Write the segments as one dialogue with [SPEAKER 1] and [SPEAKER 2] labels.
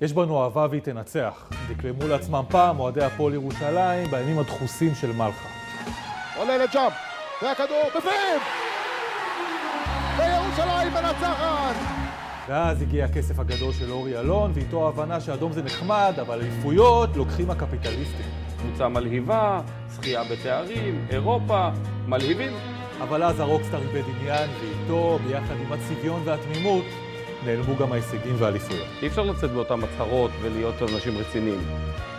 [SPEAKER 1] יש בנו אהבה והיא תנצח. דקלמו לעצמם פעם אוהדי הפועל ירושלים בימים הדחוסים של מלחה.
[SPEAKER 2] עולה לג'אמפ, והכדור בפנים! וירושלים מנצחת!
[SPEAKER 1] ואז הגיע הכסף הגדול של אורי אלון, ואיתו ההבנה שאדום זה נחמד, אבל אליפויות לוקחים הקפיטליסטים.
[SPEAKER 3] קבוצה מלהיבה, זכייה בתארים, אירופה, מלהיבים.
[SPEAKER 1] אבל אז הרוקסטאר איבד עניין, ואיתו, ביחד עם הצביון והתמימות, נעלמו גם ההישגים והאליפויות.
[SPEAKER 3] אי אפשר לצאת באותן הצהרות ולהיות אנשים רציניים.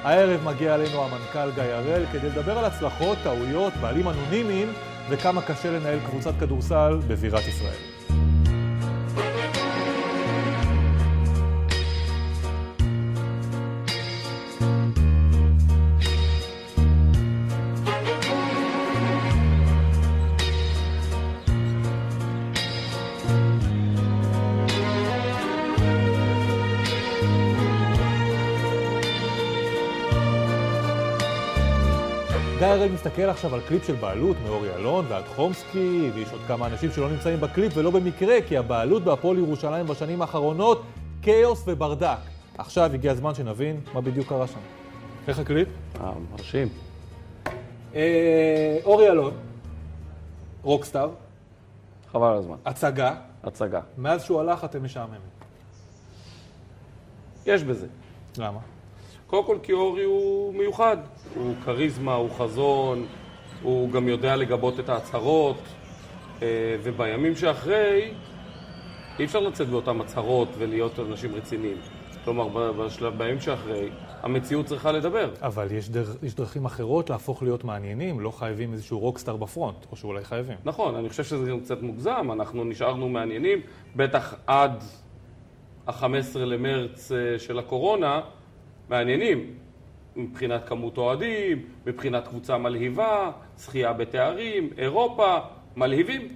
[SPEAKER 1] הערב מגיע אלינו המנכ"ל גיא הראל כדי לדבר על הצלחות, טעויות, בעלים אנונימיים, וכמה קשה לנהל קבוצת כדורסל בבירת ישראל. גיא הראל מסתכל עכשיו על קליפ של בעלות מאורי אלון ועד חומסקי, ויש עוד כמה אנשים שלא נמצאים בקליפ ולא במקרה, כי הבעלות בהפועל ירושלים בשנים האחרונות, כאוס וברדק. עכשיו הגיע הזמן שנבין מה בדיוק קרה שם. איך הקליפ?
[SPEAKER 3] אה, מרשים.
[SPEAKER 1] אה, אורי אלון, רוקסטאר,
[SPEAKER 3] חבל על הזמן.
[SPEAKER 1] הצגה,
[SPEAKER 3] הצגה.
[SPEAKER 1] מאז שהוא הלך אתם משעממים.
[SPEAKER 3] יש בזה.
[SPEAKER 1] למה?
[SPEAKER 3] קודם כל כי אורי הוא מיוחד. הוא כריזמה, הוא חזון, הוא גם יודע לגבות את ההצהרות, אה, ובימים שאחרי אי אפשר לצאת באותן הצהרות ולהיות אנשים רציניים. כלומר, ב- בשלב, בימים שאחרי, המציאות צריכה לדבר.
[SPEAKER 1] אבל יש, דר... יש דרכים אחרות להפוך להיות מעניינים, לא חייבים איזשהו רוקסטאר בפרונט, או שאולי חייבים.
[SPEAKER 3] נכון, אני חושב שזה גם קצת מוגזם, אנחנו נשארנו מעניינים, בטח עד ה-15 למרץ אה, של הקורונה, מעניינים. מבחינת כמות אוהדים, מבחינת קבוצה מלהיבה, זכייה בתארים, אירופה, מלהיבים.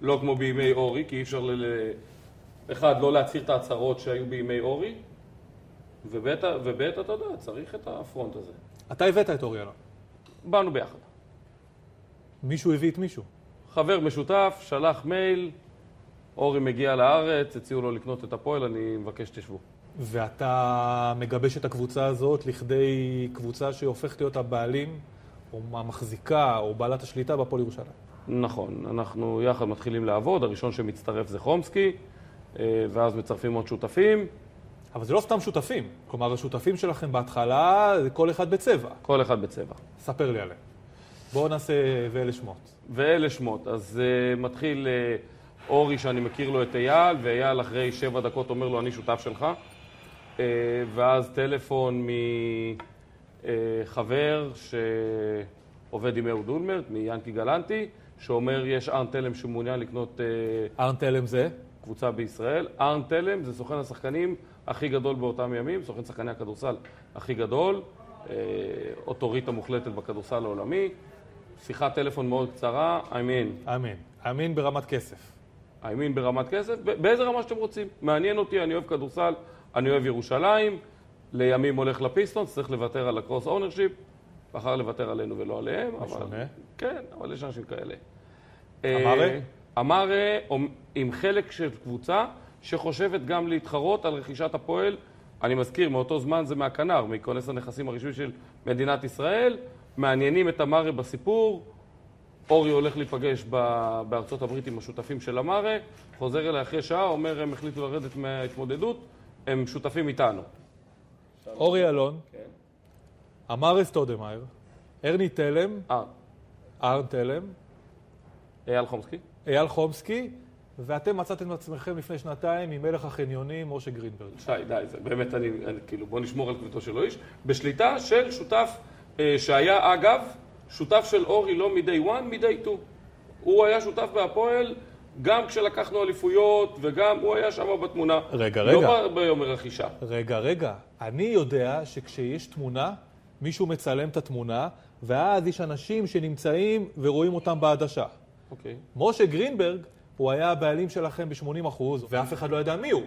[SPEAKER 3] לא כמו בימי אורי, כי אי אפשר ל... ל- אחד, לא להצהיר את ההצהרות שהיו בימי אורי, וב', וב', אתה יודע, צריך את הפרונט הזה.
[SPEAKER 1] אתה הבאת את אורי אלון.
[SPEAKER 3] באנו ביחד.
[SPEAKER 1] מישהו הביא את מישהו.
[SPEAKER 3] חבר משותף, שלח מייל, אורי מגיע לארץ, הציעו לו לקנות את הפועל, אני מבקש שתשבו.
[SPEAKER 1] ואתה מגבש את הקבוצה הזאת לכדי קבוצה שהופכת להיות הבעלים, או המחזיקה, או בעלת השליטה בהפועל ירושלים.
[SPEAKER 3] נכון, אנחנו יחד מתחילים לעבוד, הראשון שמצטרף זה חומסקי, אה, ואז מצרפים עוד שותפים,
[SPEAKER 1] אבל זה לא סתם שותפים. כלומר, השותפים שלכם בהתחלה, זה כל אחד בצבע.
[SPEAKER 3] כל אחד בצבע.
[SPEAKER 1] ספר לי עליהם. בואו נעשה ואלה שמות.
[SPEAKER 3] ואלה שמות, אז uh, מתחיל uh, אורי שאני מכיר לו את אייל, ואייל אחרי שבע דקות אומר לו אני שותף שלך, uh, ואז טלפון מחבר שעובד עם אהוד אולמרט, מיאנקי גלנטי, שאומר יש ארן תלם שמעוניין לקנות uh,
[SPEAKER 1] ארן תלם זה?
[SPEAKER 3] קבוצה בישראל. ארן תלם זה סוכן השחקנים הכי גדול באותם ימים, סוכן שחקני הכדורסל הכי גדול, אה, אוטוריטה מוחלטת בכדורסל העולמי. שיחת טלפון מאוד קצרה, I mean,
[SPEAKER 1] אמין. אמין ברמת כסף.
[SPEAKER 3] I mean ברמת כסף, ב- באיזה רמה שאתם רוצים. מעניין אותי, אני אוהב כדורסל, אני אוהב ירושלים, לימים הולך לפיסטונס, צריך לוותר על הקרוס אונרשיפ, בחר לוותר עלינו ולא עליהם. אבל-
[SPEAKER 1] משונה.
[SPEAKER 3] כן, אבל יש אנשים כאלה.
[SPEAKER 1] אמרה?
[SPEAKER 3] אה, אמרה אומ- עם חלק של קבוצה שחושבת גם להתחרות על רכישת הפועל. אני מזכיר, מאותו זמן זה מהכנר, מכונס הנכסים הרשמי של מדינת ישראל. מעניינים את אמרה בסיפור. אורי הולך להיפגש ב- בארצות הברית עם השותפים של אמרה, חוזר אליי אחרי שעה, אומר, הם החליטו לרדת מההתמודדות, הם שותפים איתנו.
[SPEAKER 1] אורי אלון. אמר אסטודמאייר. ארני תלם.
[SPEAKER 3] אה,
[SPEAKER 1] ארן תלם.
[SPEAKER 3] אייל חומסקי?
[SPEAKER 1] אייל חומסקי. ואתם מצאתם את עצמכם לפני שנתיים עם מלך החניונים, משה גרינברג.
[SPEAKER 3] שי, די, זה באמת, אני, אני כאילו, בוא נשמור על כבודו של האיש. בשליטה של שותף אה, שהיה, אגב, שותף של אורי לא מ-day one, מ-day two. הוא היה שותף בהפועל גם כשלקחנו אליפויות, וגם הוא היה שם בתמונה.
[SPEAKER 1] רגע,
[SPEAKER 3] לא
[SPEAKER 1] רגע.
[SPEAKER 3] ב- ביום הרכישה.
[SPEAKER 1] רגע, רגע, אני יודע שכשיש תמונה, מישהו מצלם את התמונה, ואז יש אנשים שנמצאים ורואים אותם בעדשה.
[SPEAKER 3] אוקיי.
[SPEAKER 1] משה גרינברג, הוא היה הבעלים שלכם ב-80%, ואף אחד לא ידע מי הוא.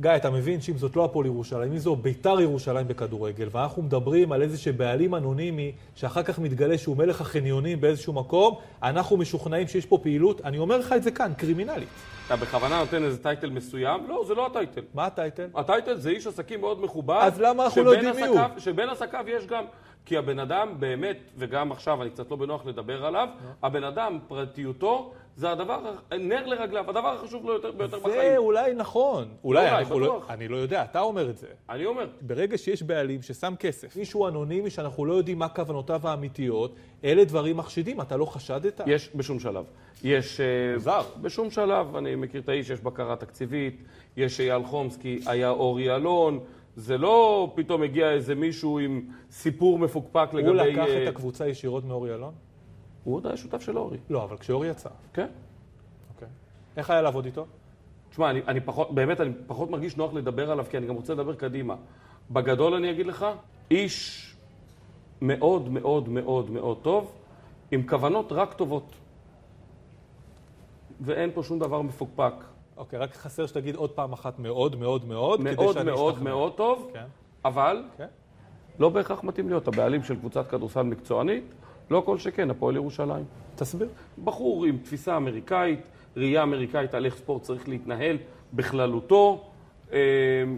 [SPEAKER 1] גיא, אתה מבין שאם זאת לא הפועל ירושלים, אם זו ביתר ירושלים בכדורגל, ואנחנו מדברים על איזה שבעלים אנונימי, שאחר כך מתגלה שהוא מלך החניונים באיזשהו מקום, אנחנו משוכנעים שיש פה פעילות, אני אומר לך את זה כאן, קרימינלית.
[SPEAKER 3] אתה בכוונה נותן איזה טייטל מסוים? לא, זה לא הטייטל.
[SPEAKER 1] מה הטייטל?
[SPEAKER 3] הטייטל זה איש עסקים מאוד מכובד.
[SPEAKER 1] אז למה אנחנו לא
[SPEAKER 3] שבין
[SPEAKER 1] יודעים מי הוא?
[SPEAKER 3] עסקיו- שבין עסקיו יש גם... כי הבן אדם באמת, וגם עכשיו אני קצת לא בנוח לדבר עליו, הבן אדם, פרטיותו, זה הדבר, נר לרגליו, הדבר החשוב לו יותר- ביותר
[SPEAKER 1] זה
[SPEAKER 3] בחיים.
[SPEAKER 1] אולי נכון. אולי,
[SPEAKER 3] אולי,
[SPEAKER 1] אנחנו לא-
[SPEAKER 3] בטוח.
[SPEAKER 1] אני לא יודע, אתה אומר את זה.
[SPEAKER 3] אני אומר,
[SPEAKER 1] ברגע שיש בעלים ששם כסף, מישהו אנונימי שאנחנו לא יודעים מה כוונותיו האמיתיות, אלה דברים מחשידים, אתה לא חשדת?
[SPEAKER 3] יש בשום שלב. יש... אה,
[SPEAKER 1] מוזר.
[SPEAKER 3] בשום שלב, אני מכיר את האיש, יש בקרה תקציבית, יש אייל חומסקי, היה אורי אלון, זה לא פתאום הגיע איזה מישהו עם סיפור מפוקפק לגבי...
[SPEAKER 1] הוא לקח
[SPEAKER 3] אה,
[SPEAKER 1] את הקבוצה ישירות מאורי אלון?
[SPEAKER 3] הוא עוד היה שותף של אורי,
[SPEAKER 1] לא, אבל כשאורי יצא.
[SPEAKER 3] כן.
[SPEAKER 1] אוקיי. איך היה לעבוד איתו?
[SPEAKER 3] תשמע, אני, אני פחות, באמת, אני פחות מרגיש נוח לדבר עליו, כי אני גם רוצה לדבר קדימה. בגדול אני אגיד לך, איש מאוד מאוד מאוד מאוד טוב, עם כוונות רק טובות. ואין פה שום דבר מפוקפק.
[SPEAKER 1] אוקיי, רק חסר שתגיד עוד פעם אחת מאוד מאוד מאוד, כדי
[SPEAKER 3] מאוד
[SPEAKER 1] שאני
[SPEAKER 3] מאוד
[SPEAKER 1] אשתכנע.
[SPEAKER 3] מאוד טוב,
[SPEAKER 1] כן,
[SPEAKER 3] אבל
[SPEAKER 1] כן.
[SPEAKER 3] לא בהכרח מתאים להיות הבעלים של קבוצת כדורסל מקצוענית, לא כל שכן הפועל ירושלים.
[SPEAKER 1] תסביר.
[SPEAKER 3] בחור עם תפיסה אמריקאית, ראייה אמריקאית על איך ספורט צריך להתנהל בכללותו, אה,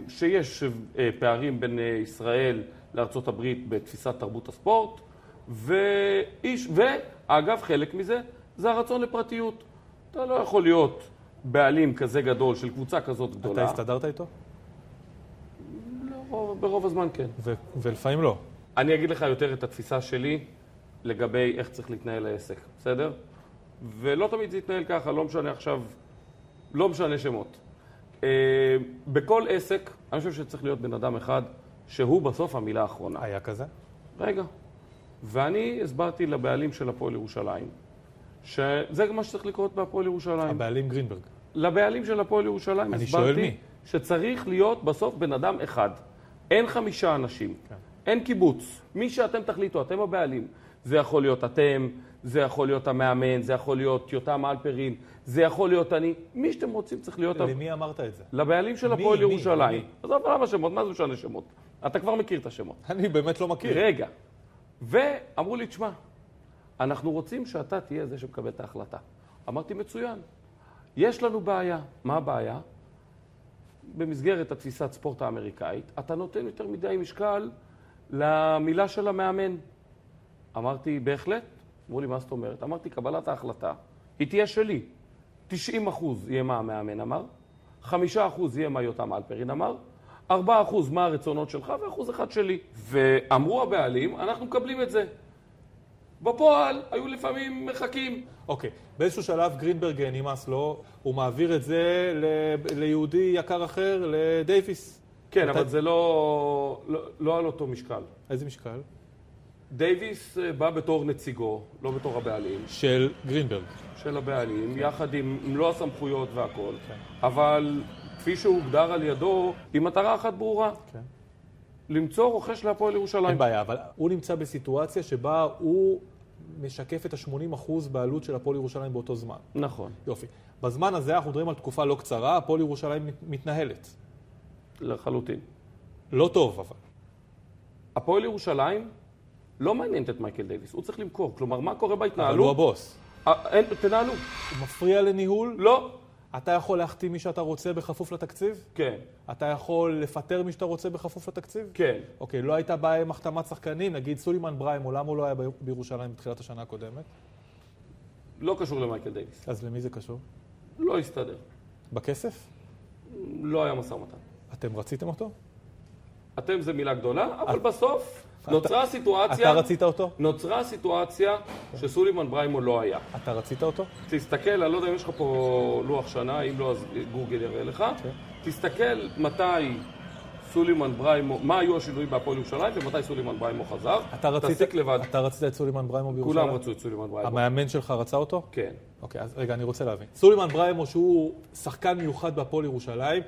[SPEAKER 3] שיש אה, פערים בין אה, ישראל לארצות הברית בתפיסת תרבות הספורט, ואיש, ואגב, חלק מזה זה הרצון לפרטיות. אתה לא יכול להיות בעלים כזה גדול של קבוצה כזאת
[SPEAKER 1] אתה
[SPEAKER 3] גדולה.
[SPEAKER 1] הסתדרת איתו?
[SPEAKER 3] לרוב- ברוב הזמן כן.
[SPEAKER 1] ו- ולפעמים לא.
[SPEAKER 3] אני אגיד לך יותר את התפיסה שלי לגבי איך צריך להתנהל העסק, בסדר? ולא תמיד זה יתנהל ככה, לא משנה עכשיו, לא משנה שמות. אה, בכל עסק, אני חושב שצריך להיות בן אדם אחד שהוא בסוף המילה האחרונה.
[SPEAKER 1] היה כזה?
[SPEAKER 3] רגע. ואני הסברתי לבעלים של הפועל ירושלים, שזה גם מה שצריך לקרות בהפועל ירושלים.
[SPEAKER 1] הבעלים גרינברג.
[SPEAKER 3] לבעלים של הפועל ירושלים
[SPEAKER 1] אני
[SPEAKER 3] הסברתי
[SPEAKER 1] שואל מי.
[SPEAKER 3] שצריך להיות בסוף בן אדם אחד. אין חמישה אנשים, כן. אין קיבוץ. מי שאתם תחליטו, אתם הבעלים. זה יכול להיות אתם, זה יכול להיות המאמן, זה יכול להיות יותם אלפרין, זה יכול להיות אני. מי שאתם רוצים צריך להיות... ה-
[SPEAKER 1] למי אמרת את זה?
[SPEAKER 3] לבעלים של
[SPEAKER 1] מי,
[SPEAKER 3] הפועל
[SPEAKER 1] מי,
[SPEAKER 3] ירושלים.
[SPEAKER 1] מי?
[SPEAKER 3] עזוב, למה שמות? מה זה משנה שמות? אתה כבר מכיר את השמות.
[SPEAKER 1] אני באמת לא מכיר.
[SPEAKER 3] רגע. ואמרו לי, תשמע, אנחנו רוצים שאתה תהיה זה שמקבל את ההחלטה. אמרתי, מצוין. יש לנו בעיה. מה הבעיה? במסגרת התפיסת ספורט האמריקאית, אתה נותן יותר מדי משקל למילה של המאמן. אמרתי, בהחלט. אמרו לי, מה זאת אומרת? אמרתי, קבלת ההחלטה, היא תהיה שלי. 90 אחוז יהיה מה המאמן אמר, 5 אחוז יהיה מה יותם אלפרין אמר, 4 אחוז מה הרצונות שלך ואחוז אחד שלי. ואמרו הבעלים, אנחנו מקבלים את זה. בפועל היו לפעמים מחכים.
[SPEAKER 1] אוקיי, באיזשהו שלב גרינברג אה, נמאס לו, הוא מעביר את זה ל- ליהודי יקר אחר, לדייוויס.
[SPEAKER 3] כן,
[SPEAKER 1] אתה-
[SPEAKER 3] אבל זה לא, לא, לא על אותו משקל.
[SPEAKER 1] איזה משקל?
[SPEAKER 3] דייוויס אה, בא בתור נציגו, לא בתור הבעלים,
[SPEAKER 1] של גרינברג.
[SPEAKER 3] של הבעלים,
[SPEAKER 1] כן.
[SPEAKER 3] יחד עם מלוא הסמכויות והכול, אבל כפי שהוגדר על ידו, עם מטרה אחת ברורה,
[SPEAKER 1] כן.
[SPEAKER 3] למצוא רוכש להפועל ירושלים.
[SPEAKER 1] אין בעיה, אבל הוא נמצא בסיטואציה שבה הוא משקף את ה-80% בעלות של הפועל ירושלים באותו זמן.
[SPEAKER 3] נכון.
[SPEAKER 1] יופי. בזמן הזה אנחנו מדברים על תקופה לא קצרה, הפועל ירושלים מת- מתנהלת.
[SPEAKER 3] לחלוטין.
[SPEAKER 1] לא טוב, אבל.
[SPEAKER 3] הפועל ירושלים לא מעניינת את מייקל דייוויס, הוא צריך למכור. כלומר, מה קורה
[SPEAKER 1] אבל הוא
[SPEAKER 3] בהתנהלות?
[SPEAKER 1] הבוס.
[SPEAKER 3] אה, אין- תנהלו.
[SPEAKER 1] הוא מפריע לניהול,
[SPEAKER 3] לא.
[SPEAKER 1] אתה יכול להחתים מי שאתה רוצה בכפוף לתקציב?
[SPEAKER 3] כן,
[SPEAKER 1] אתה יכול לפטר מי שאתה רוצה בכפוף לתקציב?
[SPEAKER 3] כן.
[SPEAKER 1] אוקיי, לא הייתה בעיה עם החתמת שחקנים, נגיד סולימן בריימו, למה הוא לא היה ב- בירושלים בתחילת השנה הקודמת?
[SPEAKER 3] לא קשור למייקל דייוויס.
[SPEAKER 1] אז למי זה קשור?
[SPEAKER 3] לא הסתדר.
[SPEAKER 1] בכסף?
[SPEAKER 3] לא היה משא ומתן.
[SPEAKER 1] אתם רציתם אותו?
[SPEAKER 3] אתם זה מילה גדולה, אבל בסוף נוצרה
[SPEAKER 1] אתה
[SPEAKER 3] סיטואציה...
[SPEAKER 1] רצית אותו?
[SPEAKER 3] נוצרה סיטואציה שסולימן בריימו לא היה.
[SPEAKER 1] אתה רצית אותו?
[SPEAKER 3] תסתכל, אני לא יודע אם יש לך פה לוח שנה, אם לא אז גוגל יראה לך.
[SPEAKER 1] כן.
[SPEAKER 3] תסתכל מתי סולימן בריימו, מה היו השינויים בהפועל ירושלים ומתי סולימן בריימו חזר.
[SPEAKER 1] אתה רצית...
[SPEAKER 3] תסיק לבד.
[SPEAKER 1] אתה רצית את סולימן בריימו בירושלים?
[SPEAKER 3] כולם רצו את סולימן בריימו.
[SPEAKER 1] המאמן שלך רצה אותו?
[SPEAKER 3] כן.
[SPEAKER 1] אוקיי, אז רגע, אני רוצה להבין. סולימן בריימו, שהוא שחקן מיוחד בהפועל ירושלים,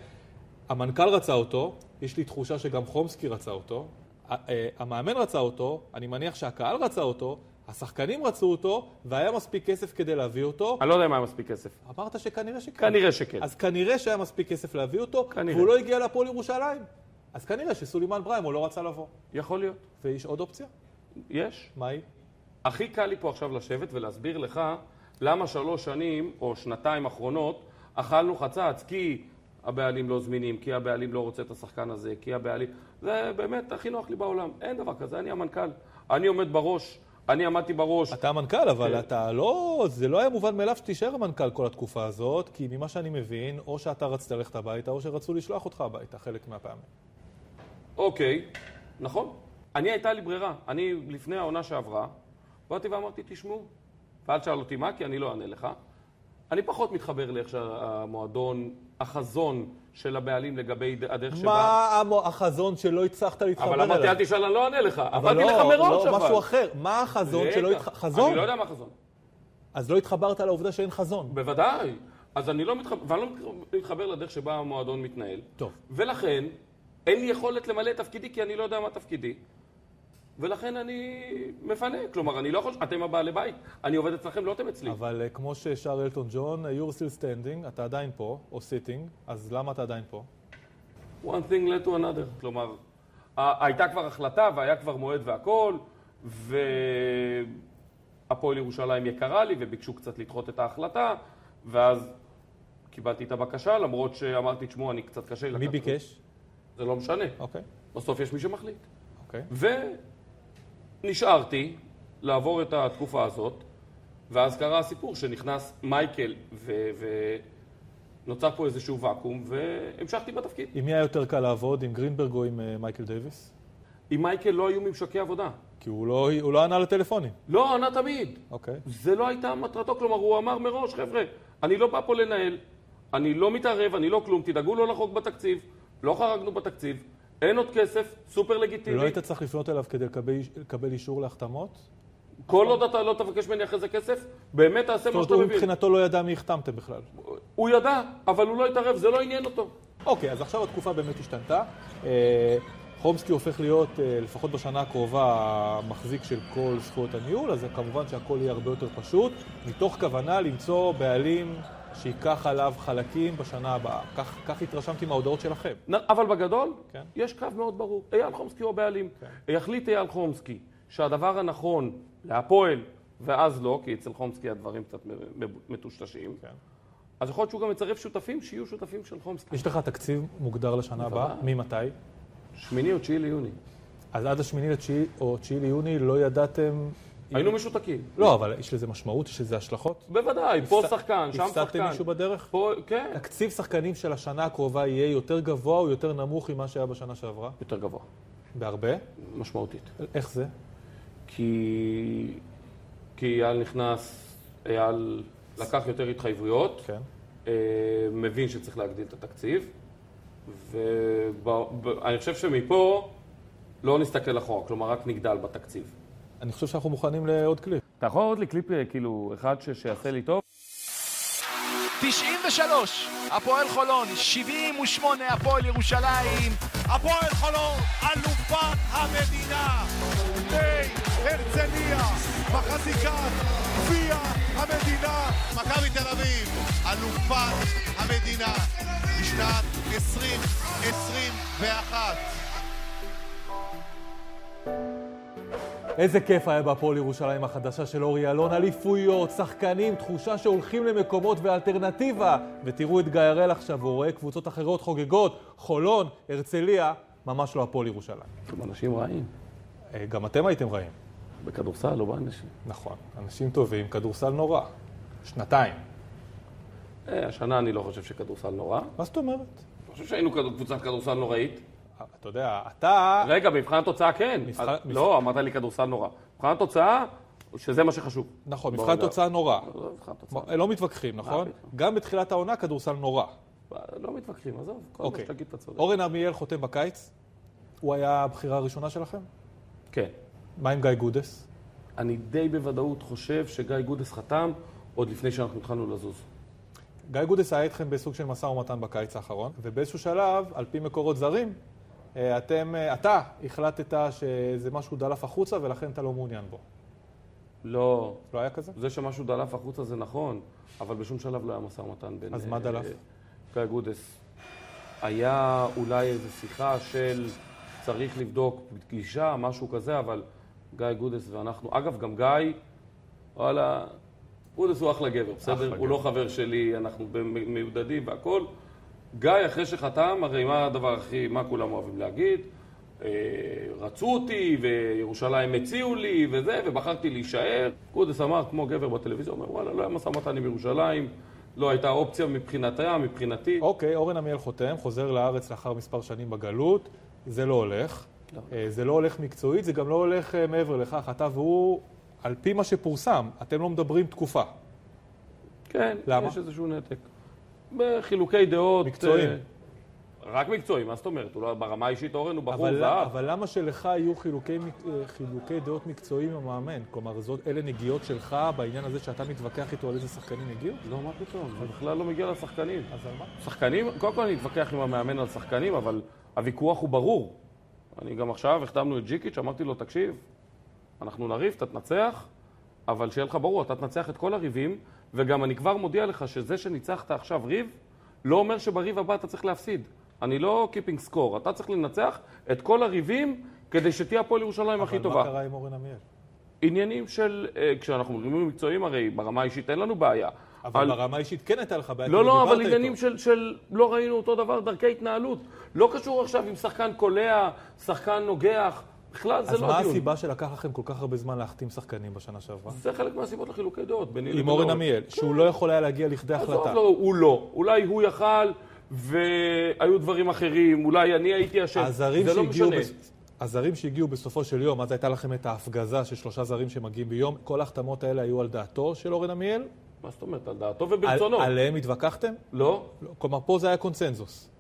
[SPEAKER 1] המנכ"ל רצה אותו, יש לי תחושה שגם חומסקי רצה אותו, ה- אה, המאמן רצה אותו, אני מניח שהקהל רצה אותו, השחקנים רצו אותו, והיה מספיק כסף כדי להביא אותו.
[SPEAKER 3] אני לא יודע אם היה מספיק כסף.
[SPEAKER 1] אמרת שכנראה שכן.
[SPEAKER 3] כנראה שכן.
[SPEAKER 1] אז כנראה שהיה מספיק כסף להביא אותו,
[SPEAKER 3] כנראה.
[SPEAKER 1] והוא לא הגיע להפועל ירושלים. אז כנראה שסולימאן בריימו לא רצה לבוא.
[SPEAKER 3] יכול להיות.
[SPEAKER 1] ויש עוד אופציה?
[SPEAKER 3] יש.
[SPEAKER 1] מה היא?
[SPEAKER 3] הכי קל לי פה עכשיו לשבת ולהסביר לך למה שלוש שנים או שנתיים אחרונות אכלנו חצץ, כי הבעלים לא זמינים, כי הבעלים לא רוצה את השחקן הזה, כי הבעלים... זה באמת הכי נוח לי בעולם. אין דבר כזה, אני המנכ"ל. אני עומד בראש, אני עמדתי בראש.
[SPEAKER 1] אתה המנכ"ל, אבל
[SPEAKER 3] כן.
[SPEAKER 1] אתה לא... זה לא היה מובן מאליו שתישאר המנכ"ל כל התקופה הזאת, כי ממה שאני מבין, או שאתה רצית ללכת הביתה, או שרצו לשלוח אותך הביתה חלק מהפעמים.
[SPEAKER 3] אוקיי, נכון. אני הייתה לי ברירה. אני, לפני העונה שעברה, באתי ואמרתי, תשמעו. ואל שאל אותי מה, כי אני לא אענה לך. אני פחות מתחבר לאיך שהמועדון, החזון של הבעלים לגבי הדרך שבה...
[SPEAKER 1] מה המו- החזון שלא הצלחת להתחבר אליו?
[SPEAKER 3] אבל אמרתי, אל תשאל, אני לא אענה לך. אמרתי לך
[SPEAKER 1] לא,
[SPEAKER 3] מראש, אבל.
[SPEAKER 1] לא, משהו אחר. מה החזון
[SPEAKER 3] רגע,
[SPEAKER 1] שלא התח... חזון?
[SPEAKER 3] אני לא יודע מה חזון.
[SPEAKER 1] אז לא התחברת לעובדה שאין חזון.
[SPEAKER 3] בוודאי. אז אני לא מתחבר, ואני לא מתחבר לדרך שבה המועדון מתנהל.
[SPEAKER 1] טוב.
[SPEAKER 3] ולכן, אין לי יכולת למלא את תפקידי, כי אני לא יודע מה תפקידי. ולכן אני מפנה. כלומר, אני לא יכול... אתם הבעלי בית. אני עובד אצלכם, לא אתם אצלי.
[SPEAKER 1] אבל אה, כמו ששר אלטון ג'ון, אה, you're still standing, אתה עדיין פה, או sitting, אז למה אתה עדיין פה?
[SPEAKER 3] one thing led to another. כלומר, ה- הייתה כבר החלטה והיה כבר מועד והכול, והפועל ירושלים יקרה לי וביקשו קצת לדחות את ההחלטה, ואז קיבלתי את הבקשה, למרות שאמרתי, תשמעו, אני קצת קשה לי
[SPEAKER 1] מי
[SPEAKER 3] לקחת את זה."
[SPEAKER 1] ביקש?
[SPEAKER 3] זה לא משנה.
[SPEAKER 1] אוקיי,
[SPEAKER 3] בסוף יש מי שמחליט.
[SPEAKER 1] אוקיי.
[SPEAKER 3] ונשארתי לעבור את התקופה הזאת, ואז קרה הסיפור שנכנס מייקל ו... ו... נוצר פה איזשהו ואקום, והמשכתי בתפקיד.
[SPEAKER 1] עם מי היה יותר קל לעבוד, עם גרינברג או עם אה, מייקל דייוויס?
[SPEAKER 3] עם מייקל לא היו ממשקי עבודה.
[SPEAKER 1] כי הוא לא, הוא לא ענה לטלפונים.
[SPEAKER 3] לא, ענה תמיד.
[SPEAKER 1] אוקיי.
[SPEAKER 3] זה לא הייתה מטרתו, כלומר, הוא אמר מראש, חבר'ה, אני לא בא פה לנהל, אני לא מתערב, אני לא כלום, תדאגו לא לחרוג בתקציב, לא חרגנו בתקציב, אין עוד כסף, סופר לגיטימי.
[SPEAKER 1] לא היית צריך לפנות אליו כדי לקבל, לקבל אישור להחתמות?
[SPEAKER 3] לא
[SPEAKER 1] זאת
[SPEAKER 3] כל עוד אתה לא תבקש ממני אחרי זה כסף, באמת תעשה מה
[SPEAKER 1] אומרת,
[SPEAKER 3] שאתה
[SPEAKER 1] הוא
[SPEAKER 3] מבין.
[SPEAKER 1] מבחינתו לא ידע מי החתמתם בכלל.
[SPEAKER 3] הוא ידע, אבל הוא לא התערב, זה לא עניין אותו.
[SPEAKER 1] אוקיי, אז עכשיו התקופה באמת השתנתה. אה, חומסקי הופך להיות, אה, לפחות בשנה הקרובה, המחזיק של כל זכויות הניהול, אז כמובן שהכל יהיה הרבה יותר פשוט, מתוך כוונה למצוא בעלים שייקח עליו חלקים בשנה הבאה. כך, כך התרשמתי מההודעות שלכם.
[SPEAKER 3] נ- אבל בגדול,
[SPEAKER 1] כן.
[SPEAKER 3] יש קו מאוד ברור. אייל חומסקי הוא הבעלים. יחליט אייל חומסקי שהדבר הנכון להפועל, ואז לא, כי אצל חומסקי הדברים קצת מ- מ- מטושטשים,
[SPEAKER 1] כן.
[SPEAKER 3] אז יכול להיות שהוא גם יצרף שותפים שיהיו שותפים של חומסקי.
[SPEAKER 1] יש לך תקציב מוגדר לשנה הבאה?
[SPEAKER 3] בוודאי.
[SPEAKER 1] ממתי?
[SPEAKER 3] שמיני או תשיעי ליוני.
[SPEAKER 1] אז עד השמיני לתשיעי או תשיעי ליוני לא ידעתם...
[SPEAKER 3] היינו משותקים.
[SPEAKER 1] לא, אבל יש לזה משמעות, יש לזה השלכות?
[SPEAKER 3] בוודאי, פה
[SPEAKER 1] הפס-
[SPEAKER 3] שחקן, שם
[SPEAKER 1] הפסדתם
[SPEAKER 3] שחקן.
[SPEAKER 1] מישהו בדרך?
[SPEAKER 3] פה, כן.
[SPEAKER 1] תקציב שחקנים של השנה הקרובה יהיה יותר גבוה או יותר נמוך ממה שהיה בשנה שעברה?
[SPEAKER 3] יותר גבוה,
[SPEAKER 1] בהרבה?
[SPEAKER 3] משמעותית.
[SPEAKER 1] איך זה?
[SPEAKER 3] כי... כי אייל נכנס, אייל לקח יותר התחייבויות.
[SPEAKER 1] כן.
[SPEAKER 3] אה, מבין שצריך להגדיל את התקציב, ואני חושב שמפה לא נסתכל אחורה, כלומר רק נגדל בתקציב.
[SPEAKER 1] אני חושב שאנחנו מוכנים לעוד קליפ.
[SPEAKER 3] אתה יכול לראות לי קליפ אה, כאילו אחד ש- שיעשה לי טוב?
[SPEAKER 4] 93, הפועל חולון, 78, הפועל ירושלים.
[SPEAKER 5] הפועל חולון, אלופת המדינה.
[SPEAKER 2] בני הרצליה, מחזיקת גביע המדינה.
[SPEAKER 5] מכבי תל אביב, אלופת המדינה. בשנת 2021.
[SPEAKER 1] איזה כיף היה בהפועל ירושלים החדשה של אורי אלון, אליפויות, שחקנים, תחושה שהולכים למקומות ואלטרנטיבה. ותראו את גיא הראל עכשיו, הוא רואה קבוצות אחרות חוגגות, חולון, הרצליה, ממש לא הפועל ירושלים.
[SPEAKER 3] אתם אנשים רעים,
[SPEAKER 1] אה, גם אתם הייתם רעים.
[SPEAKER 3] בכדורסל לא באנשים.
[SPEAKER 1] נכון, אנשים טובים, כדורסל נורא. שנתיים.
[SPEAKER 3] אה, השנה אני לא חושב שכדורסל נורא.
[SPEAKER 1] מה זאת אומרת?
[SPEAKER 3] אני חושב שהיינו כדור- קבוצת כדורסל נוראית.
[SPEAKER 1] אה, אתה יודע, אתה...
[SPEAKER 3] רגע, במבחן התוצאה כן.
[SPEAKER 1] מבחן-
[SPEAKER 3] אה,
[SPEAKER 1] מבחן-
[SPEAKER 3] לא, אמרת לי כדורסל נורא. במבחן התוצאה, שזה מה שחשוב.
[SPEAKER 1] נכון,
[SPEAKER 3] בוא
[SPEAKER 1] מבחן
[SPEAKER 3] רגע.
[SPEAKER 1] תוצאה נורא.
[SPEAKER 3] לא, מבחן התוצאה.
[SPEAKER 1] לא מתווכחים, נכון?
[SPEAKER 3] פתאום.
[SPEAKER 1] גם בתחילת העונה כדורסל נורא.
[SPEAKER 3] לא מתווכחים, עזוב, כל מה
[SPEAKER 1] אוקיי.
[SPEAKER 3] שתגיד אתה צודק.
[SPEAKER 1] אורן אריאל חותם בקיץ, הוא היה הבחירה הראשונה שלכם?
[SPEAKER 3] כן.
[SPEAKER 1] מה עם גיא גודס?
[SPEAKER 3] אני די בוודאות חושב שגיא גודס חתם עוד לפני שאנחנו התחלנו לזוז.
[SPEAKER 1] גיא גודס היה איתכם בסוג של משא ומתן בקיץ האחרון, ובאיזשהו שלב, על פי מקורות זרים, אה, אתם, אה, אתה החלטת שזה משהו דלף החוצה ולכן אתה לא מעוניין בו.
[SPEAKER 3] לא.
[SPEAKER 1] לא היה כזה?
[SPEAKER 3] זה שמשהו דלף החוצה זה נכון, אבל בשום שלב לא היה משא ומתן בין...
[SPEAKER 1] אז מה
[SPEAKER 3] אה,
[SPEAKER 1] דלף?
[SPEAKER 3] גיא גודס. היה אולי איזו שיחה של צריך לבדוק פגישה, משהו כזה, אבל גיא גודס ואנחנו... אגב, גם גיא, וואלה, גודס הוא אחלה גבר, בסדר? הוא לא חבר שלי, אנחנו במ- מיודדים והכול. גיא, אחרי שחתם, הרי מה הדבר הכי, מה כולם אוהבים להגיד? אה, רצו אותי, וירושלים הציעו לי, וזה, ובחרתי להישאר. קודס אמר, כמו גבר בטלוויזיה, הוא אומר, וואלה, לא היה משא ומתן עם ירושלים, לא הייתה אופציה מבחינתה, מבחינתי.
[SPEAKER 1] אוקיי, אורן עמיאל חותם, חוזר לארץ לאחר מספר שנים בגלות, זה לא הולך. אה, זה לא הולך מקצועית, זה גם לא הולך אה, מעבר לכך. אתה והוא, על פי מה שפורסם, אתם לא מדברים תקופה.
[SPEAKER 3] כן,
[SPEAKER 1] למה?
[SPEAKER 3] יש איזשהו נתק. בחילוקי דעות.
[SPEAKER 1] מקצועיים.
[SPEAKER 3] אה, רק מקצועיים, מה זאת אומרת? הוא לא, ברמה האישית אורן הוא בחור
[SPEAKER 1] אבל,
[SPEAKER 3] זהב.
[SPEAKER 1] אבל למה שלך יהיו חילוקי, מק- אה, חילוקי דעות מקצועיים עם המאמן? כלומר, זאת, אלה נגיעות שלך בעניין הזה שאתה מתווכח איתו על איזה שחקנים הגיעו?
[SPEAKER 3] לא, מה פתאום, זה בכלל לא מגיע לשחקנים.
[SPEAKER 1] אז על מה?
[SPEAKER 3] שחקנים, קודם כל אני אתווכח עם המאמן על שחקנים, אבל הוויכוח הוא ברור. אני גם עכשיו, החתמנו את ג'יקיץ', אמרתי לו, תקשיב, אנחנו נריב, אתה תנצח, אבל שיהיה לך ברור, אתה תנצח את כל הריבים, וגם אני כבר מודיע לך שזה שניצחת עכשיו ריב, לא אומר שבריב הבא אתה צריך להפסיד. אני לא keeping score, אתה צריך לנצח את כל הריבים כדי שתהיה הפועל ירושלים הכי
[SPEAKER 1] אבל מה
[SPEAKER 3] טובה.
[SPEAKER 1] קרה עם אורן עמיאל?
[SPEAKER 3] עניינים של, אה, כשאנחנו מדברים מקצועיים, הרי ברמה האישית אין לנו בעיה.
[SPEAKER 1] אבל
[SPEAKER 3] על-
[SPEAKER 1] ברמה האישית כן הייתה לך בעיה.
[SPEAKER 3] לא,
[SPEAKER 1] כי
[SPEAKER 3] לא,
[SPEAKER 1] דיברת
[SPEAKER 3] אבל עניינים
[SPEAKER 1] איתו.
[SPEAKER 3] של, של לא ראינו אותו דבר, דרכי התנהלות. לא קשור עכשיו אם שחקן קולע, שחקן נוגח, בכלל זה
[SPEAKER 1] אז
[SPEAKER 3] לא
[SPEAKER 1] מה
[SPEAKER 3] דיון.
[SPEAKER 1] הסיבה שלקח לכם כל כך הרבה זמן להחתים שחקנים בשנה שעברה?
[SPEAKER 3] זה חלק מהסיבות לחילוקי דעות. ביני
[SPEAKER 1] עם
[SPEAKER 3] לבינו.
[SPEAKER 1] אורן עמיאל, שהוא לא יכול היה להגיע לכדי
[SPEAKER 3] עזוב,
[SPEAKER 1] החלטה.
[SPEAKER 3] לא, הוא לא. אולי הוא יכל והיו דברים אחרים, אולי אני הייתי אשם.
[SPEAKER 1] הזרים
[SPEAKER 3] זה לא
[SPEAKER 1] שהגיעו,
[SPEAKER 3] משנה.
[SPEAKER 1] בס- הזרים שהגיעו בסופו של יום, אז הייתה לכם את ההפגזה של שלושה זרים שמגיעים ביום, כל ההחתמות האלה היו על דעתו של אורן עמיאל?
[SPEAKER 3] מה זאת אומרת, על דעתו
[SPEAKER 1] על-
[SPEAKER 3] וברצונו.
[SPEAKER 1] עליהם התווכחתם?
[SPEAKER 3] לא?
[SPEAKER 1] לא, כלומר, פה זה היה קונצנזוס.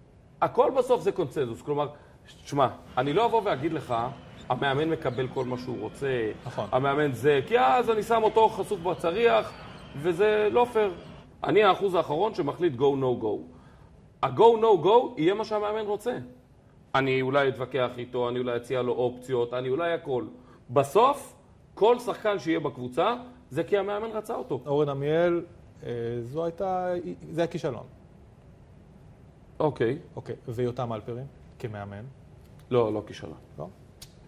[SPEAKER 3] הכל בסוף זה קונצנזוס. כלומר, שמע, אני לא אבוא ואגיד לך, המאמן מקבל כל מה שהוא רוצה,
[SPEAKER 1] נכון.
[SPEAKER 3] המאמן זה, כי אז אני שם אותו חשוף בצריח, וזה לא פייר. אני האחוז האחרון שמחליט go no go. ה-go no go יהיה מה שהמאמן רוצה. אני אולי אתווכח איתו, אני אולי אציע לו אופציות, אני אולי הכל. בסוף, כל שחקן שיהיה בקבוצה, זה כי המאמן רצה אותו.
[SPEAKER 1] אורן עמיאל, אה, זו הייתה, זה היה כישלון.
[SPEAKER 3] אוקיי.
[SPEAKER 1] אוקיי, ויותם אלפרין, כמאמן,
[SPEAKER 3] לא, לא כישלון.
[SPEAKER 1] לא?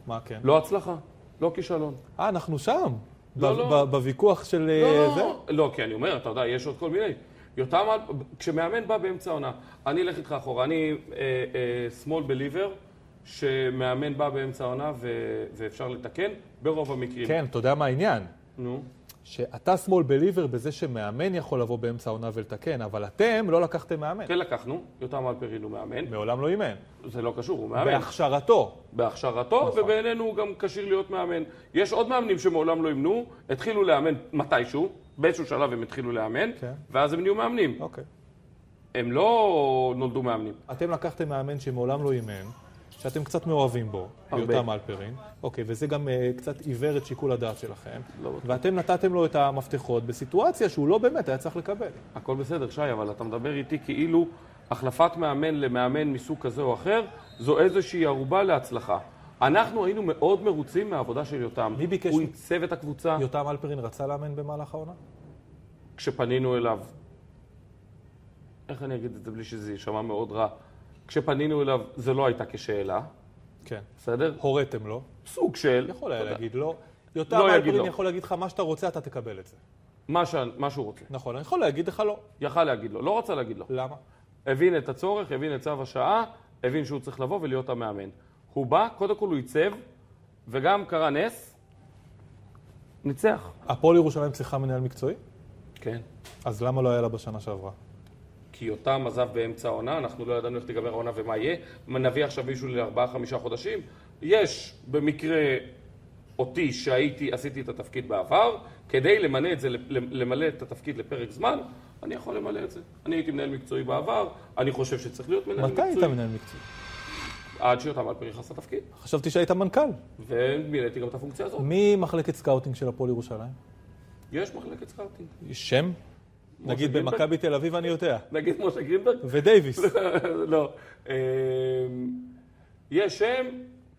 [SPEAKER 1] מה כן?
[SPEAKER 3] לא הצלחה, לא כישלון.
[SPEAKER 1] אה, אנחנו שם.
[SPEAKER 3] לא,
[SPEAKER 1] ב-
[SPEAKER 3] לא.
[SPEAKER 1] ב- בוויכוח של אה,
[SPEAKER 3] לא,
[SPEAKER 1] זה?
[SPEAKER 3] לא, לא, כי אני אומר, אתה יודע, יש עוד כל מיני. יותם, אל- כשמאמן בא באמצע העונה, אני אלך איתך אחורה, אני אה, אה, small believer, שמאמן בא באמצע העונה ו- ואפשר לתקן ברוב המקרים.
[SPEAKER 1] כן, אתה יודע מה העניין?
[SPEAKER 3] נו.
[SPEAKER 1] שאתה שמאל בליבר בזה שמאמן יכול לבוא באמצע העונה ולתקן, אבל אתם לא לקחתם מאמן.
[SPEAKER 3] כן לקחנו, יותם אלפרין הוא מאמן,
[SPEAKER 1] מעולם לא אימן.
[SPEAKER 3] זה לא קשור, הוא מאמן.
[SPEAKER 1] בהכשרתו.
[SPEAKER 3] בהכשרתו,
[SPEAKER 1] נכון.
[SPEAKER 3] ובעינינו הוא גם כשיר להיות מאמן. יש עוד מאמנים שמעולם לא אימנו, התחילו לאמן מתישהו, באיזשהו שלב הם התחילו לאמן,
[SPEAKER 1] כן.
[SPEAKER 3] ואז הם נהיו מאמנים.
[SPEAKER 1] אוקיי.
[SPEAKER 3] הם לא נולדו מאמנים.
[SPEAKER 1] אתם לקחתם מאמן שמעולם לא אימן, שאתם קצת מאוהבים בו,
[SPEAKER 3] הרבה.
[SPEAKER 1] יותם אלפרין. אוקיי, וזה גם אה, קצת עיוור את שיקול הדעת שלכם.
[SPEAKER 3] לא בטוח.
[SPEAKER 1] ואתם נתתם לו את המפתחות בסיטואציה שהוא לא באמת היה צריך לקבל.
[SPEAKER 3] הכל בסדר, שי, אבל אתה מדבר איתי כאילו החלפת מאמן למאמן מסוג כזה או אחר, זו איזושהי ערובה להצלחה. אנחנו היינו מאוד מרוצים מהעבודה של יותם.
[SPEAKER 1] מי ביקש
[SPEAKER 3] הוא
[SPEAKER 1] מ-
[SPEAKER 3] עיצב את הקבוצה
[SPEAKER 1] יותם אלפרין רצה לאמן במהלך העונה?
[SPEAKER 3] כשפנינו אליו. איך אני אגיד את זה בלי שזה יישמע מאוד רע? כשפנינו אליו זה לא הייתה כשאלה,
[SPEAKER 1] כן.
[SPEAKER 3] בסדר?
[SPEAKER 1] הוריתם לו?
[SPEAKER 3] סוג של...
[SPEAKER 1] יכול היה
[SPEAKER 3] אתה יודע,
[SPEAKER 1] להגיד לא. יותם
[SPEAKER 3] לא יגיד
[SPEAKER 1] אלפרין
[SPEAKER 3] לא.
[SPEAKER 1] יכול להגיד לך מה שאתה רוצה, אתה תקבל את זה.
[SPEAKER 3] מה שה- מה שהוא רוצה.
[SPEAKER 1] נכון, אני יכול להגיד לך לא.
[SPEAKER 3] יכל להגיד לו, לא רצה להגיד לו.
[SPEAKER 1] למה?
[SPEAKER 3] הבין את הצורך, הבין את צו השעה, הבין שהוא צריך לבוא ולהיות המאמן. הוא בא, קודם כל הוא עיצב, וגם קרה נס, ניצח.
[SPEAKER 1] הפועל ירושלים צריכה מנהל מקצועי?
[SPEAKER 3] כן.
[SPEAKER 1] אז למה לא היה לה בשנה שעברה?
[SPEAKER 3] כי יותם עזב באמצע העונה, אנחנו לא ידענו איך תיגמר העונה ומה יהיה. נביא עכשיו מישהו לארבעה-חמישה חודשים. יש במקרה אותי שהייתי, עשיתי את התפקיד בעבר, כדי למלא את זה, למלא את התפקיד לפרק זמן, אני יכול למלא את זה. אני הייתי מנהל מקצועי בעבר, אני חושב שצריך להיות מנהל
[SPEAKER 1] מתי
[SPEAKER 3] מקצועי.
[SPEAKER 1] היית מנהל מקצועי?
[SPEAKER 3] עד שיותם אלפרי נכנס לתפקיד.
[SPEAKER 1] חשבתי שהיית מנכ"ל.
[SPEAKER 3] ומילאתי גם את הפונקציה הזאת.
[SPEAKER 1] מי מחלקת סקאוטינג של הפועל ירושלים?
[SPEAKER 3] יש מחלקת סקאוטינג.
[SPEAKER 1] שם? נגיד
[SPEAKER 3] גרינברג?
[SPEAKER 1] במכבי תל אביב אני יודע.
[SPEAKER 3] נגיד משה גרינברג?
[SPEAKER 1] ודייוויס.
[SPEAKER 3] לא. אמ, יש שם,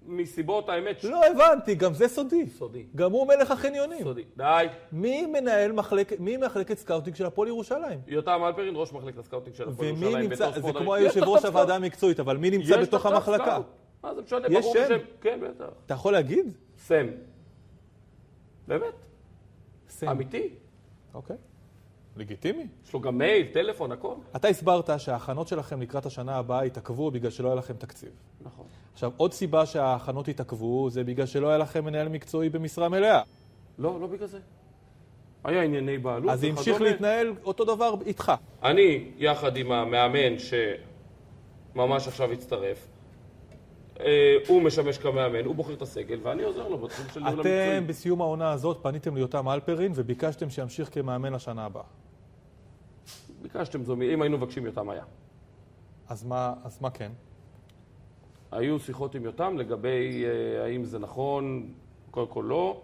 [SPEAKER 3] מסיבות, האמת,
[SPEAKER 1] לא הבנתי, גם זה סודי.
[SPEAKER 3] סודי.
[SPEAKER 1] גם הוא מלך החניונים.
[SPEAKER 3] סודי. די.
[SPEAKER 1] מי מנהל מחלקת, מי מחלקת סקאוטינג של הפועל ירושלים?
[SPEAKER 3] יותם אלפרין, ראש מחלקת הסקאוטינג של הפועל ירושלים.
[SPEAKER 1] ומי נמצא,
[SPEAKER 3] בתור
[SPEAKER 1] זה
[SPEAKER 3] ספורט
[SPEAKER 1] כמו
[SPEAKER 3] הרי- יש
[SPEAKER 1] היושב
[SPEAKER 3] לך
[SPEAKER 1] ראש
[SPEAKER 3] סקאוט.
[SPEAKER 1] הוועדה המקצועית, אבל מי נמצא
[SPEAKER 3] יש
[SPEAKER 1] בתוך
[SPEAKER 3] לך
[SPEAKER 1] המחלקה?
[SPEAKER 3] סקאוט. מה זה משנה,
[SPEAKER 1] יש
[SPEAKER 3] ברור לי
[SPEAKER 1] שם?
[SPEAKER 3] שהם... כן, בטח.
[SPEAKER 1] אתה יכול להגיד?
[SPEAKER 3] סם. באמת,
[SPEAKER 1] סם.
[SPEAKER 3] אמיתי.
[SPEAKER 1] אוקיי. לגיטימי.
[SPEAKER 3] יש לו גם מייל, טלפון, הכל.
[SPEAKER 1] אתה הסברת שההכנות שלכם לקראת השנה הבאה התעכבו בגלל שלא היה לכם תקציב.
[SPEAKER 3] נכון.
[SPEAKER 1] עכשיו, עוד סיבה שההכנות התעכבו זה בגלל שלא היה לכם מנהל מקצועי במשרה מלאה.
[SPEAKER 3] לא, לא בגלל זה. היה ענייני בעלות
[SPEAKER 1] אז זה המשיך
[SPEAKER 3] וכדומה.
[SPEAKER 1] להתנהל אותו דבר איתך.
[SPEAKER 3] אני, יחד עם המאמן שממש עכשיו הצטרף, אה, הוא משמש כמאמן, הוא בוחר את הסגל, ואני עוזר לו בתחום של ניהול המקצועי.
[SPEAKER 1] אתם בסיום העונה הזאת פניתם ליותם אלפרין וביקשתם שימשיך כמאמן לשנה הבאה.
[SPEAKER 3] ביקשתם זו, אם היינו מבקשים יותם היה.
[SPEAKER 1] אז מה, אז מה כן?
[SPEAKER 3] היו שיחות עם יותם לגבי אה, האם זה נכון, קודם כל לא,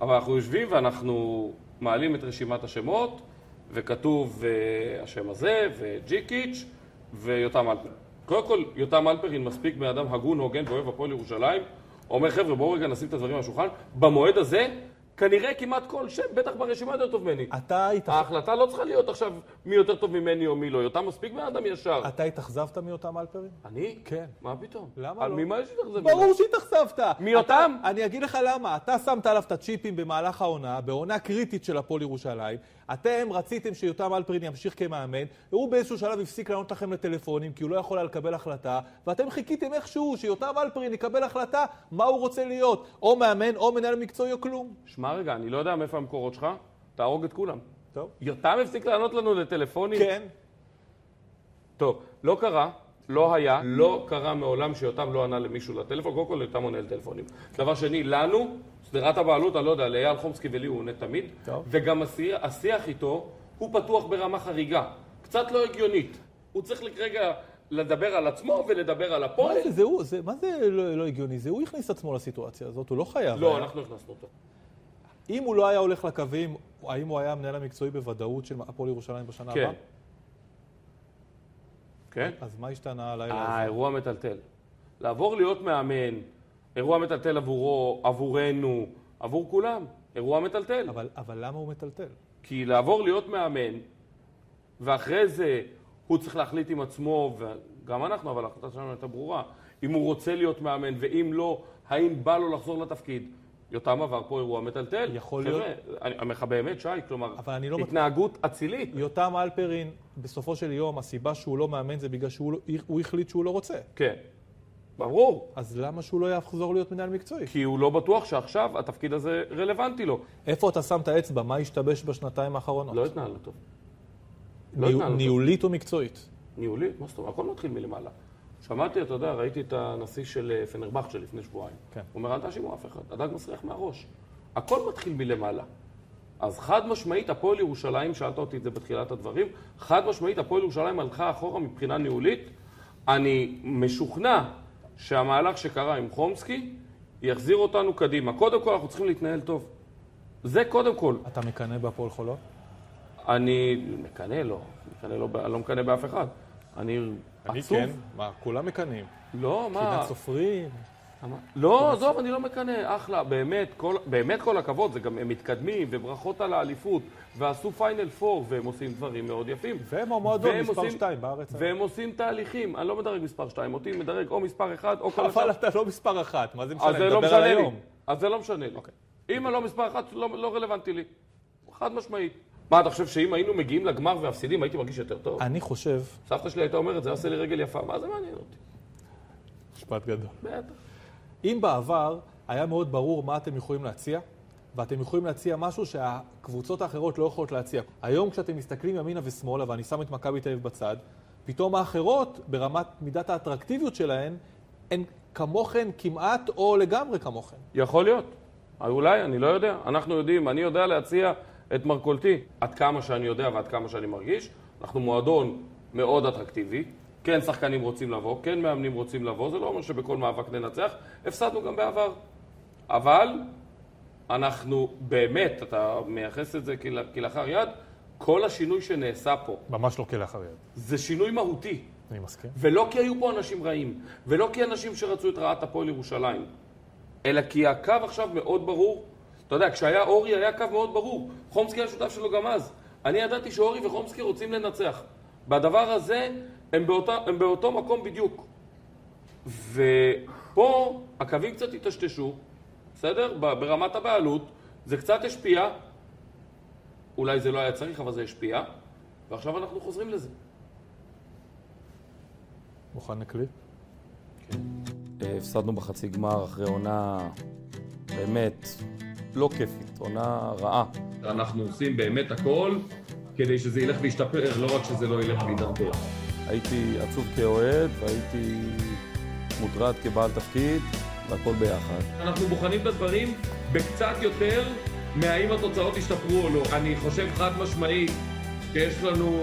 [SPEAKER 3] אבל אנחנו יושבים ואנחנו מעלים את רשימת השמות, וכתוב אה, השם הזה, וג'יקיץ', ויותם אלפרין. קודם כל, יותם אלפרין מספיק בן אדם הגון, הוגן ואוהב הפועל ירושלים, אומר חבר'ה בואו רגע נשים את הדברים על השולחן, במועד הזה, כנראה כמעט כל שם, בטח ברשימה יותר טוב ממני.
[SPEAKER 1] אתה, התאכ...
[SPEAKER 3] ההחלטה לא צריכה להיות עכשיו מי יותר טוב ממני או מי לא, יותם מספיק בן אדם ישר.
[SPEAKER 1] אתה התאכזבת מיותם אלפרין?
[SPEAKER 3] אני?
[SPEAKER 1] כן.
[SPEAKER 3] מה פתאום?
[SPEAKER 1] למה
[SPEAKER 3] על
[SPEAKER 1] לא?
[SPEAKER 3] ממה יש לך זה?
[SPEAKER 1] ברור שהתאכזבת.
[SPEAKER 3] מי אותם?
[SPEAKER 1] אתה- אני אגיד לך למה. אתה שמת עליו את הצ'יפים במהלך העונה, בעונה קריטית של הפועל ירושלים. אתם רציתם שיותם אלפרין ימשיך כמאמן, והוא באיזשהו שלב הפסיק לענות לכם לטלפונים, כי הוא לא יכול היה לקבל החלטה, ואתם חיכיתם איכשהו שיותם אלפרין יקבל החלטה מה הוא רוצה להיות, או מאמן, או מנהל מקצועי, או כלום.
[SPEAKER 3] שמע רגע, אני לא יודע מאיפה המקורות שלך, תהרוג את כולם.
[SPEAKER 1] טוב.
[SPEAKER 3] יותם הפסיק לענות לנו לטלפונים?
[SPEAKER 1] כן.
[SPEAKER 3] טוב, לא קרה, לא היה, לא קרה מעולם שיותם לא ענה למישהו לטלפון, קודם כל יותם עונה לטלפונים. דבר שני, לנו, שדרת הבעלות, אני לא יודע, לאייל חומסקי ולי הוא עונה תמיד,
[SPEAKER 1] טוב.
[SPEAKER 3] וגם השיח, השיח איתו, הוא פתוח ברמה חריגה, קצת לא הגיונית. הוא צריך רגע לדבר על עצמו ולדבר על הפועל.
[SPEAKER 1] מה זה, זה הוא, זה, מה זה לא, לא הגיוני? זה הוא הכניס את עצמו לסיטואציה הזאת, הוא לא חייב.
[SPEAKER 3] לא,
[SPEAKER 1] היה.
[SPEAKER 3] אנחנו הכנסנו אותו.
[SPEAKER 1] אם הוא לא היה הולך לקווים, האם הוא היה המנהל המקצועי בוודאות של הפועל ירושלים בשנה
[SPEAKER 3] כן.
[SPEAKER 1] הבאה?
[SPEAKER 3] כן?
[SPEAKER 1] אז מה השתנה הלילה הזה?
[SPEAKER 3] אה, אירוע מטלטל. לעבור להיות מאמן, אירוע מטלטל עבורו, עבורנו, עבור כולם, אירוע מטלטל.
[SPEAKER 1] אבל, אבל למה הוא מטלטל?
[SPEAKER 3] כי לעבור להיות מאמן, ואחרי זה הוא צריך להחליט עם עצמו, וגם אנחנו, אבל ההחלטה שלנו הייתה ברורה, אם הוא רוצה להיות מאמן, ואם לא, האם בא לו לחזור לתפקיד. יותם עבר פה אירוע מטלטל.
[SPEAKER 1] יכול
[SPEAKER 3] חבר'ה, אני אני אומר לך באמת, שי, כלומר,
[SPEAKER 1] אבל אני לא מת-
[SPEAKER 3] התנהגות אצילית.
[SPEAKER 1] יותם אלפרין, בסופו של יום, הסיבה שהוא לא מאמן זה בגלל שהוא לא- הוא החליט שהוא לא רוצה.
[SPEAKER 3] כן. ברור.
[SPEAKER 1] אז למה שהוא לא יחזור להיות מנהל מקצועי?
[SPEAKER 3] כי הוא לא בטוח שעכשיו התפקיד הזה רלוונטי לו.
[SPEAKER 1] איפה אתה שם את האצבע? מה השתבש בשנתיים האחרונות?
[SPEAKER 3] לא התנהלנו טוב. לא
[SPEAKER 1] ניהו-
[SPEAKER 3] התנהלנו
[SPEAKER 1] ניהולית ומקצועית.
[SPEAKER 3] ניהולית, מה זאת אומרת? הכל מתחיל מלמעלה. שמעתי, אתה יודע, ראיתי את הנשיא של אה, פנרבכצ'ה לפני שבועיים.
[SPEAKER 1] כן.
[SPEAKER 3] הוא אומר, אל תאשימו אף אחד, הדג מסריח מהראש. הכל מתחיל מלמעלה. אז חד משמעית, הפועל ירושלים, שאלת אותי את זה בתחילת הדברים, חד משמעית, הפועל ירושלים הלכה אחורה מבחינה ניהולית. אני משוכנע שהמהלך שקרה עם חומסקי יחזיר אותנו קדימה. קודם כל, אנחנו צריכים להתנהל טוב. זה קודם כל.
[SPEAKER 1] אתה מקנא בהפועל חולון?
[SPEAKER 3] אני מקנא לו, מקנא לו, ב- אני לא מקנא באף אחד. אני עצוב.
[SPEAKER 1] כן. מה, כולם מקנאים.
[SPEAKER 3] לא, מה?
[SPEAKER 1] פינת סופרים.
[SPEAKER 3] למה? לא, עזוב, אני לא מקנא, אחלה, באמת, כל, באמת כל הכבוד, זה גם, הם מתקדמים, וברכות על האליפות, ועשו פיינל פור, והם עושים דברים מאוד יפים.
[SPEAKER 1] והם המועדון
[SPEAKER 3] והם
[SPEAKER 1] מספר
[SPEAKER 3] עושים-
[SPEAKER 1] 2 בארץ.
[SPEAKER 3] והם עושים תהליכים, אני לא מדרג מספר 2, אותי מדרג או מספר 1 או כל
[SPEAKER 1] אבל
[SPEAKER 3] השאר.
[SPEAKER 1] אתה לא מספר אחת, מה זה משנה?
[SPEAKER 3] אז זה לא
[SPEAKER 1] נדבר על
[SPEAKER 3] משנה לי.
[SPEAKER 1] היום. אוקיי.
[SPEAKER 3] אז זה לא משנה לי. אם אני לא מספר 1, לא לא רלוונטי לי. חד משמעית. מה, אתה חושב שאם היינו מגיעים לגמר והפסידים, הייתי מרגיש יותר טוב?
[SPEAKER 1] אני חושב,
[SPEAKER 3] סבתא שלי הייתה אומרת, זה עושה לי רגל יפה, מה זה מעניין אותי?
[SPEAKER 1] משפט גדול.
[SPEAKER 3] בטח.
[SPEAKER 1] אם בעבר היה מאוד ברור מה אתם יכולים להציע, ואתם יכולים להציע משהו שהקבוצות האחרות לא יכולות להציע. היום כשאתם מסתכלים ימינה ושמאלה, ואני שם את מכבי תל אביב בצד, פתאום האחרות, ברמת מידת האטרקטיביות שלהן, הן כמוכן כמעט או לגמרי כמוכן.
[SPEAKER 3] יכול להיות. אולי, אני לא יודע. אנחנו יודעים, אני יודע להציע את מרכולתי. עד כמה שאני יודע ועד כמה שאני מרגיש. אנחנו מועדון מאוד אטרקטיבי. כן שחקנים רוצים לבוא, כן מאמנים רוצים לבוא, זה לא אומר שבכל מאבק ננצח. הפסדנו גם בעבר. אבל אנחנו באמת, אתה מייחס את זה כל- כלאחר יד, כל השינוי שנעשה פה
[SPEAKER 1] ממש לא כלאחר יד.
[SPEAKER 3] זה שינוי מהותי.
[SPEAKER 1] אני מסכים.
[SPEAKER 3] ולא כי היו פה אנשים רעים, ולא כי אנשים שרצו את רעת הפועל ירושלים, אלא כי הקו עכשיו מאוד ברור. אתה יודע, כשהיה אורי היה קו מאוד ברור. חומסקי היה שותף שלו גם אז. אני ידעתי שאורי וחומסקי רוצים לנצח. בדבר הזה הם, באותה, הם באותו מקום בדיוק. ופה הקווים קצת התשתשו, בסדר? ב- ברמת הבעלות, זה קצת השפיע, אולי זה לא היה צריך, אבל זה השפיע, ועכשיו אנחנו חוזרים לזה.
[SPEAKER 1] מוכן לקליפ?
[SPEAKER 6] אה, הפסדנו בחצי גמר אחרי עונה באמת לא כיפית, עונה רעה.
[SPEAKER 7] אנחנו עושים באמת הכל כדי שזה ילך וישתפר, לא רק שזה לא ילך וידרדר.
[SPEAKER 6] הייתי עצוב כאוהד והייתי מוטרד כבעל תפקיד, והכל ביחד.
[SPEAKER 7] אנחנו בוחנים את הדברים בקצת יותר מהאם התוצאות ישתפרו או לא. אני חושב חד משמעית שיש לנו,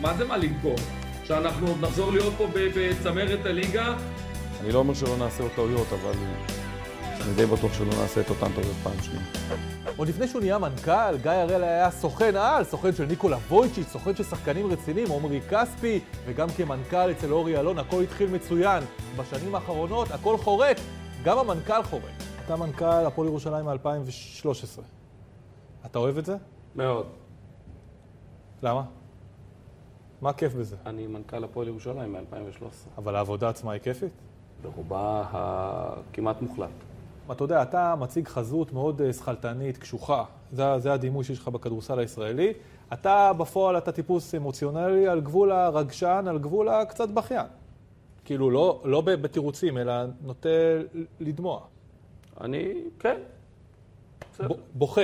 [SPEAKER 7] מה זה מה למכור? שאנחנו עוד נחזור להיות פה ב- בצמרת הליגה
[SPEAKER 6] אני לא אומר שלא נעשה עוד טעויות, אבל אני די בטוח שלא נעשה את אותן טעויות פעם שנייה.
[SPEAKER 1] עוד לפני שהוא נהיה מנכ"ל, גיא הראל היה סוכן על, סוכן של ניקולה וויצ'יץ', סוכן של שחקנים רציניים, עומרי כספי, וגם כמנכ"ל אצל אורי אלון, הכל התחיל מצוין. בשנים האחרונות הכל חורק, גם המנכ"ל חורק. אתה מנכ"ל הפועל ירושלים מ-2013. אתה אוהב את זה?
[SPEAKER 3] מאוד.
[SPEAKER 1] למה? מה כיף בזה?
[SPEAKER 3] אני מנכ"ל הפועל ירושלים מ-2013.
[SPEAKER 1] אבל העבודה עצמה היא כיפית?
[SPEAKER 3] ברובה הכמעט מוחלט.
[SPEAKER 1] אתה יודע, אתה מציג חזות מאוד אה, שכלתנית, קשוחה. זה, זה הדימוי שיש לך בכדורסל הישראלי. אתה בפועל, אתה טיפוס אמוציונלי על גבול הרגשן, על גבול הקצת בכיין. כאילו, לא, לא ב- בתירוצים, אלא נוטה ל- לדמוע.
[SPEAKER 3] אני, כן,
[SPEAKER 1] ב, בוכה.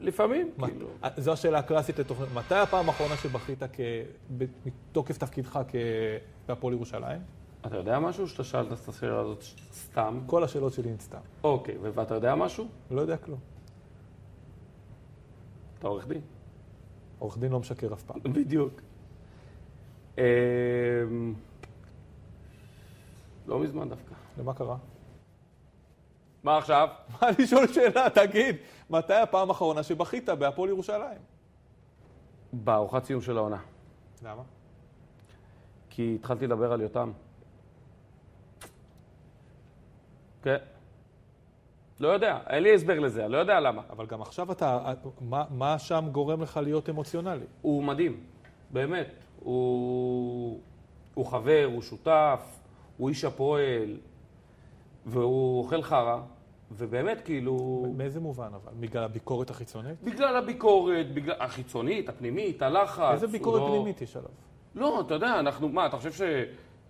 [SPEAKER 3] לפעמים,
[SPEAKER 1] מה-
[SPEAKER 3] כאילו.
[SPEAKER 1] אה, זו השאלה הקלאסית לתוכנית. מתי הפעם האחרונה שבכית כ... ב- מתוקף תפקידך כ... בהפועל ירושלים?
[SPEAKER 3] אתה יודע משהו? שאתה שאלת את השאלה הזאת ש- סתם?
[SPEAKER 1] כל השאלות שלי הן סתם.
[SPEAKER 3] אוקיי, ו- ואתה יודע משהו?
[SPEAKER 1] לא יודע כלום.
[SPEAKER 3] אתה עורך דין.
[SPEAKER 1] עורך דין לא משקר אף פעם.
[SPEAKER 3] בדיוק. אמ, לא מזמן דווקא.
[SPEAKER 1] למה קרה?
[SPEAKER 3] מה עכשיו?
[SPEAKER 1] מה לשאול שאלה? תגיד, מתי הפעם האחרונה שבכית בהפועל ירושלים?
[SPEAKER 3] בארוחת סיום של העונה.
[SPEAKER 1] למה?
[SPEAKER 3] כי התחלתי לדבר על יותם. כן. לא יודע, אין לי הסבר לזה, אני לא יודע למה.
[SPEAKER 1] אבל גם עכשיו אתה, מה, מה שם גורם לך להיות אמוציונלי?
[SPEAKER 3] הוא מדהים, באמת. הוא, הוא חבר, הוא שותף, הוא איש הפועל, והוא אוכל חרא, ובאמת, כאילו...
[SPEAKER 1] מאיזה מובן אבל? בגלל הביקורת החיצונית?
[SPEAKER 3] בגלל הביקורת, בגלל החיצונית, הפנימית, הלחץ.
[SPEAKER 1] איזה ביקורת
[SPEAKER 3] הוא לא-
[SPEAKER 1] פנימית יש עליו?
[SPEAKER 3] לא, אתה יודע, אנחנו, מה, אתה חושב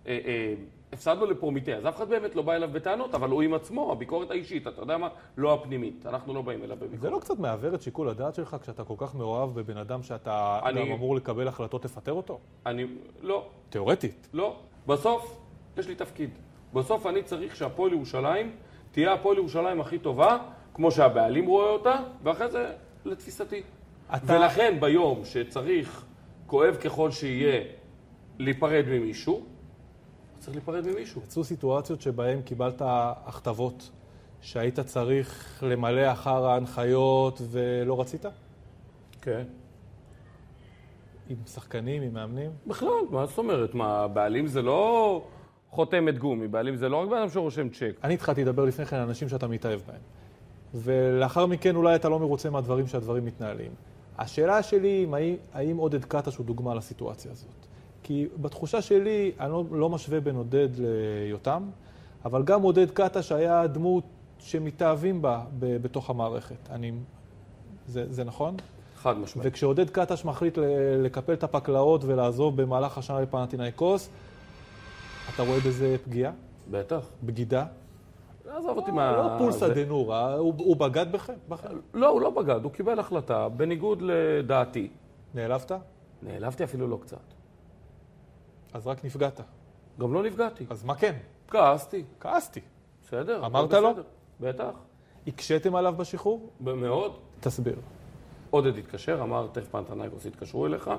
[SPEAKER 3] שהפסדנו לפרומיטה, אז אף אחד באמת לא בא אליו בטענות, אבל הוא עם עצמו, הביקורת האישית, אתה יודע מה? לא הפנימית, אנחנו לא באים אליו
[SPEAKER 1] זה
[SPEAKER 3] בביקורת.
[SPEAKER 1] לא קצת מעוור את שיקול הדעת שלך כשאתה כל כך מאוהב בבן אדם שאתה
[SPEAKER 3] אני-
[SPEAKER 1] גם אמור לקבל החלטות לפטר אותו?
[SPEAKER 3] אני, לא,
[SPEAKER 1] תיאורטית.
[SPEAKER 3] לא. בסוף, יש לי תפקיד. בסוף אני צריך שהפועל ירושלים תהיה הפועל ירושלים הכי טובה, כמו שהבעלים רואה אותה, ואחרי זה, לתפיסתי.
[SPEAKER 1] אתה-
[SPEAKER 3] ולכן ביום שצריך, כואב ככל שיהיה, להיפרד ממישהו, צריך להיפרד ממישהו.
[SPEAKER 1] יצאו סיטואציות שבהן קיבלת הכתבות שהיית צריך למלא אחר ההנחיות ולא רצית?
[SPEAKER 3] כן.
[SPEAKER 1] עם שחקנים, עם מאמנים?
[SPEAKER 3] בכלל, מה זאת אומרת? מה, בעלים זה לא חותמת גומי, בעלים זה לא רק בן אדם שרושם צ'ק.
[SPEAKER 1] אני התחלתי לדבר לפני כן על אנשים שאתה מתאהב בהם. ולאחר מכן אולי אתה לא מרוצה מהדברים שהדברים מתנהלים. השאלה שלי היא, אם האם, האם עודד קטש הוא דוגמה לסיטואציה הזאת? כי בתחושה שלי, אני לא, לא משווה בין עודד ליותם, אבל גם עודד קטש היה דמות שמתאהבים בה ב, בתוך המערכת. אני... זה, זה נכון?
[SPEAKER 3] חד משמעית.
[SPEAKER 1] וכשעודד קטש מחליט ל- לקפל את הפקלאות ולעזוב במהלך השנה לפנטינאיקוס, אתה רואה בזה פגיעה?
[SPEAKER 3] בטח.
[SPEAKER 1] בגידה?
[SPEAKER 3] עזוב אותי מה...
[SPEAKER 1] לא פולסא
[SPEAKER 3] זה-
[SPEAKER 1] דנורא, הוא הוא בגד בכם? בכם.
[SPEAKER 3] לא, הוא לא בגד, הוא קיבל החלטה, בניגוד לדעתי.
[SPEAKER 1] נעלבת?
[SPEAKER 3] נעלבתי אפילו לא קצת.
[SPEAKER 1] אז רק נפגעת.
[SPEAKER 3] גם לא נפגעתי.
[SPEAKER 1] אז מה כן?
[SPEAKER 3] כעסתי,
[SPEAKER 1] כעסתי.
[SPEAKER 3] בסדר. הכל
[SPEAKER 1] אמרת לו?
[SPEAKER 3] בסדר. בטח,
[SPEAKER 1] הקשיתם עליו בשחרור?
[SPEAKER 3] ב- מאוד.
[SPEAKER 1] תסביר.
[SPEAKER 3] עודד התקשר, אמר, תכף פנתנייקוס יתקשרו אליך.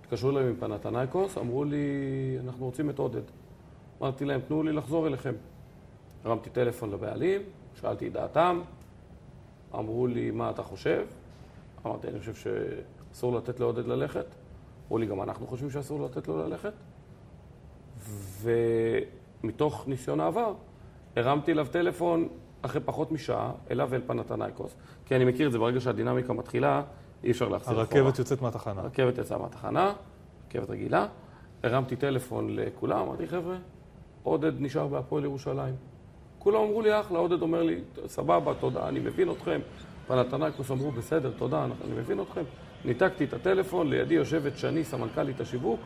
[SPEAKER 3] התקשרו אליי מפנתנייקוס, אמרו לי, אנחנו רוצים את עודד. אמרתי להם, תנו לי לחזור אליכם. הרמתי טלפון לבעלים, שאלתי את דעתם, אמרו לי, מה אתה חושב? אמרתי, אני חושב שאסור לתת לעודד ללכת. אמרו לי, גם אנחנו חושבים שאסור לתת לו ללכת. ומתוך ניסיון העבר, הרמתי אליו טלפון אחרי פחות משעה, אליו ואל פנתנייקוס. כי אני מכיר את זה, ברגע שהדינמיקה מתחילה, אי אפשר להחזיר אחורה.
[SPEAKER 1] הרכבת יוצאת מהתחנה.
[SPEAKER 3] הרכבת יצאה מהתחנה, רכבת רגילה, הרמתי טלפון לכולם, אמרתי, חבר'ה, עודד נשאר בהפועל ירושלים. כולם אמרו לי, אחלה, עודד אומר לי, סבבה, תודה, אני מבין אתכם. פנתנקוס אמרו, בסדר, תודה, אנחנו- אני מבין אתכם. ניתקתי את הטלפון, לידי יושבת שני, סמנכ"לית השיווק,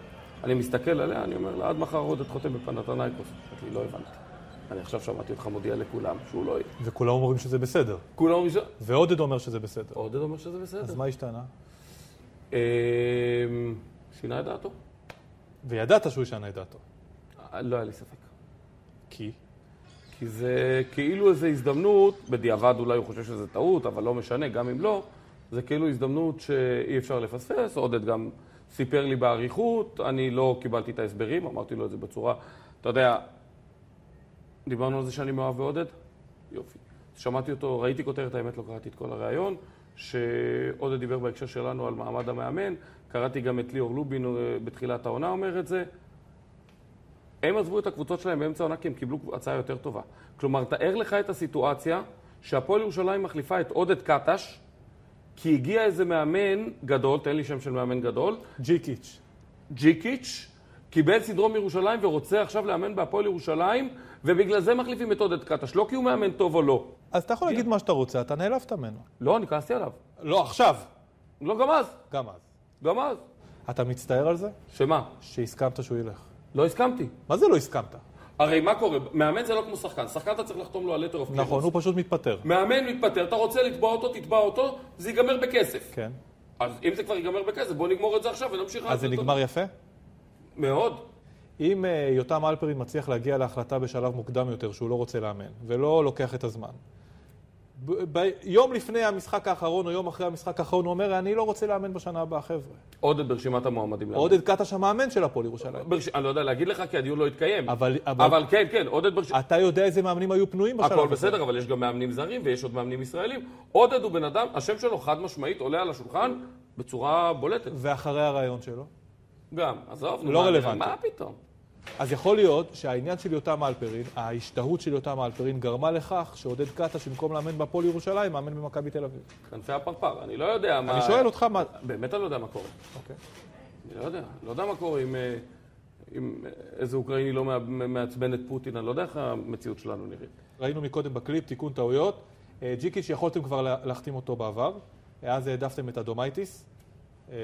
[SPEAKER 3] אני מסתכל עליה, אני אומר לה, עד מחר עודד חותם בפנתנקוס. אמרתי, לא הבנתי. אני עכשיו שמעתי אותך מודיע לכולם שהוא לא יהיה.
[SPEAKER 1] וכולם אומרים שזה בסדר.
[SPEAKER 3] כולם אומרים, ש-
[SPEAKER 1] ועודד אומר שזה בסדר.
[SPEAKER 3] עודד אומר שזה בסדר.
[SPEAKER 1] אז מה השתנה?
[SPEAKER 3] אמ, שינה את דעתו?
[SPEAKER 1] וידעת שהוא ישנה את דעתו.
[SPEAKER 3] אה, לא היה לי ספק.
[SPEAKER 1] כי?
[SPEAKER 3] כי זה כאילו איזו הזדמנות, בדיעבד אולי הוא חושב שזה טעות, אבל לא משנה, גם אם לא, זה כאילו הזדמנות שאי אפשר לפספס. עודד גם סיפר לי באריכות, אני לא קיבלתי את ההסברים, אמרתי לו את זה בצורה, אתה יודע, דיברנו על זה שאני מאוהב בעודד? יופי. שמעתי אותו, ראיתי כותרת, האמת לא קראתי את כל הריאיון, שעודד דיבר בהקשר שלנו על מעמד המאמן, קראתי גם את ליאור לובין אה, בתחילת העונה אומר את זה. הם עזבו את הקבוצות שלהם באמצע העונה כי הם קיבלו הצעה יותר טובה. כלומר, תאר לך את הסיטואציה שהפועל ירושלים מחליפה את עודד קטש, כי הגיע איזה מאמן גדול, תן לי שם של מאמן גדול,
[SPEAKER 1] ג'יקיץ'.
[SPEAKER 3] ג'יקיץ', קיבל סדרום ירושלים ורוצה עכשיו לאמן בהפועל ירושלים, ובגלל זה מחליפים את עודד קטש, לא כי הוא מאמן טוב או לא.
[SPEAKER 1] אז אתה יכול להגיד מה שאתה רוצה, אתה נעלבת ממנו.
[SPEAKER 3] לא, אני כעסתי עליו.
[SPEAKER 1] לא, עכשיו.
[SPEAKER 3] לא, גם אז,
[SPEAKER 1] גם אז.
[SPEAKER 3] גם אז.
[SPEAKER 1] אתה מצטער על זה?
[SPEAKER 3] שמה?
[SPEAKER 1] שהסכמת שהוא ילך.
[SPEAKER 3] לא הסכמתי.
[SPEAKER 1] מה זה לא הסכמת?
[SPEAKER 3] הרי מה קורה? מאמן זה לא כמו שחקן. שחקן אתה צריך לחתום לו על letter of clearance.
[SPEAKER 1] נכון, הוא פשוט מתפטר.
[SPEAKER 3] מאמן מתפטר, אתה רוצה לתבוע אותו, תתבע אותו, זה ייגמר בכסף.
[SPEAKER 1] כן.
[SPEAKER 3] אז אם זה כבר ייגמר בכסף, בוא נגמור את זה עכשיו ונמשיך...
[SPEAKER 1] אז זה
[SPEAKER 3] לעשות
[SPEAKER 1] נגמר יפה?
[SPEAKER 3] אותו. מאוד.
[SPEAKER 1] אם אה, יותם אלפרין מצליח להגיע להחלטה בשלב מוקדם יותר שהוא לא רוצה לאמן, ולא לוקח את הזמן, ב- ב- יום לפני המשחק האחרון או יום אחרי המשחק האחרון הוא אומר, אני לא רוצה לאמן בשנה הבאה, חבר'ה.
[SPEAKER 3] עודד ברשימת המועמדים. לאמן.
[SPEAKER 1] עודד קטש המאמן של הפועל ירושלים.
[SPEAKER 3] ברש... אני לא יודע להגיד לך, כי הדיון לא התקיים.
[SPEAKER 1] אבל- אבל-
[SPEAKER 3] אבל... כן, כן, עודד ברשימת...
[SPEAKER 1] אתה יודע איזה מאמנים היו פנויים בשלב
[SPEAKER 3] הכל
[SPEAKER 1] הזה.
[SPEAKER 3] בסדר, אבל יש גם מאמנים זרים ויש עוד מאמנים ישראלים. עודד הוא בן אדם, השם שלו חד משמעית עולה על השולחן בצורה בולטת.
[SPEAKER 1] ואחרי הרעיון שלו?
[SPEAKER 3] גם, עזוב, נו,
[SPEAKER 1] לא
[SPEAKER 3] מה-
[SPEAKER 1] רלוונטי.
[SPEAKER 3] מה פתאום?
[SPEAKER 1] אז יכול להיות שהעניין של יותם אלפרין, ההשתהות של יותם אלפרין, גרמה לכך שעודד קטש, במקום לאמן בהפועל ירושלים, מאמן במכבי תל אביב.
[SPEAKER 3] כנפי הפרפר, אני לא יודע מה...
[SPEAKER 1] אני שואל אותך מה...
[SPEAKER 3] באמת אני לא יודע מה קורה.
[SPEAKER 1] אוקיי.
[SPEAKER 3] אני לא יודע, לא יודע מה קורה אם, אה, אם אה, איזה אוקראיני לא מע- מעצבן את פוטין, אני לא יודע איך המציאות שלנו נראית.
[SPEAKER 1] ראינו מקודם בקליפ, תיקון טעויות. אה, ג'יקיץ' יכולתם כבר לה- להחתים אותו בעבר, אה, אז העדפתם את אדומייטיס. אה,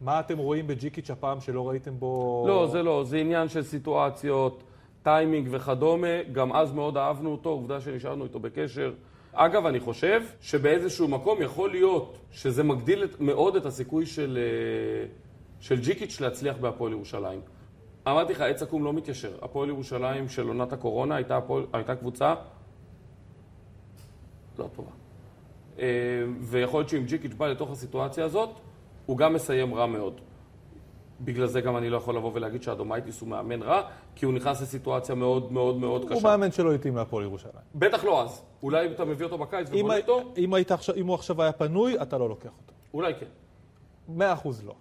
[SPEAKER 1] מה אתם רואים בג'יקיץ' הפעם שלא ראיתם בו...
[SPEAKER 3] לא, זה לא, זה עניין של סיטואציות, טיימינג וכדומה. גם אז מאוד אהבנו אותו, עובדה שנשארנו איתו בקשר. אגב, אני חושב שבאיזשהו מקום יכול להיות שזה מגדיל את, מאוד את הסיכוי של, אה, של ג'יקיץ' להצליח בהפועל ירושלים. אמרתי לך, עץ עקום לא מתיישר. הפועל ירושלים של עונת הקורונה הייתה, הפועל, הייתה קבוצה לא טובה. אה, ויכול להיות שאם ג'יקיץ' בא לתוך הסיטואציה הזאת, הוא גם מסיים רע מאוד. בגלל זה גם אני לא יכול לבוא ולהגיד שאדומייטיס הוא מאמן רע, כי הוא נכנס לסיטואציה מאוד מאוד מאוד
[SPEAKER 1] הוא
[SPEAKER 3] קשה.
[SPEAKER 1] מאמן שלא התאים להפועל ירושלים.
[SPEAKER 3] בטח לא אז. אולי אם אתה מביא אותו בקיץ
[SPEAKER 1] אם
[SPEAKER 3] ובונה
[SPEAKER 1] הי-
[SPEAKER 3] אותו,
[SPEAKER 1] אם היית עכשיו- אם הוא עכשיו היה פנוי, אתה לא לוקח אותו.
[SPEAKER 3] אולי כן.
[SPEAKER 1] מאה אחוז לא.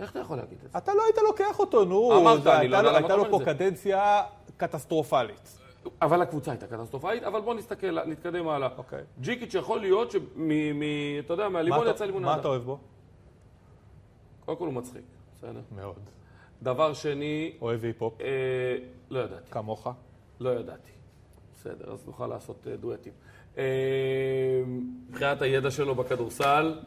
[SPEAKER 3] איך אתה יכול להגיד את זה?
[SPEAKER 1] אתה לא היית לוקח אותו, נו.
[SPEAKER 3] אמרת,
[SPEAKER 1] זה-
[SPEAKER 3] אני
[SPEAKER 1] הייתה
[SPEAKER 3] לא יודע
[SPEAKER 1] לו-
[SPEAKER 3] למה
[SPEAKER 1] הייתה
[SPEAKER 3] אתה
[SPEAKER 1] לו
[SPEAKER 3] אומר
[SPEAKER 1] פה
[SPEAKER 3] את זה.
[SPEAKER 1] קדנציה קטסטרופלית.
[SPEAKER 3] אבל הקבוצה הייתה קטסטרופאית, אבל בוא נסתכל, נתקדם הלאה.
[SPEAKER 1] אוקיי.
[SPEAKER 3] ג'יקיץ' יכול להיות שמ... מ- אתה יודע,
[SPEAKER 1] מה
[SPEAKER 3] מהלימון
[SPEAKER 1] אתה-
[SPEAKER 3] יצא לימון
[SPEAKER 1] מה אתה אוהב בו?
[SPEAKER 3] קודם כל הוא מצחיק, בסדר.
[SPEAKER 1] מאוד.
[SPEAKER 3] דבר שני,
[SPEAKER 1] אוהב היפ-הופ,
[SPEAKER 3] אה, לא ידעתי.
[SPEAKER 1] כמוך.
[SPEAKER 3] לא ידעתי. בסדר, אז נוכל לעשות אה, דואטים. אה, מבחינת הידע שלו בכדורסל,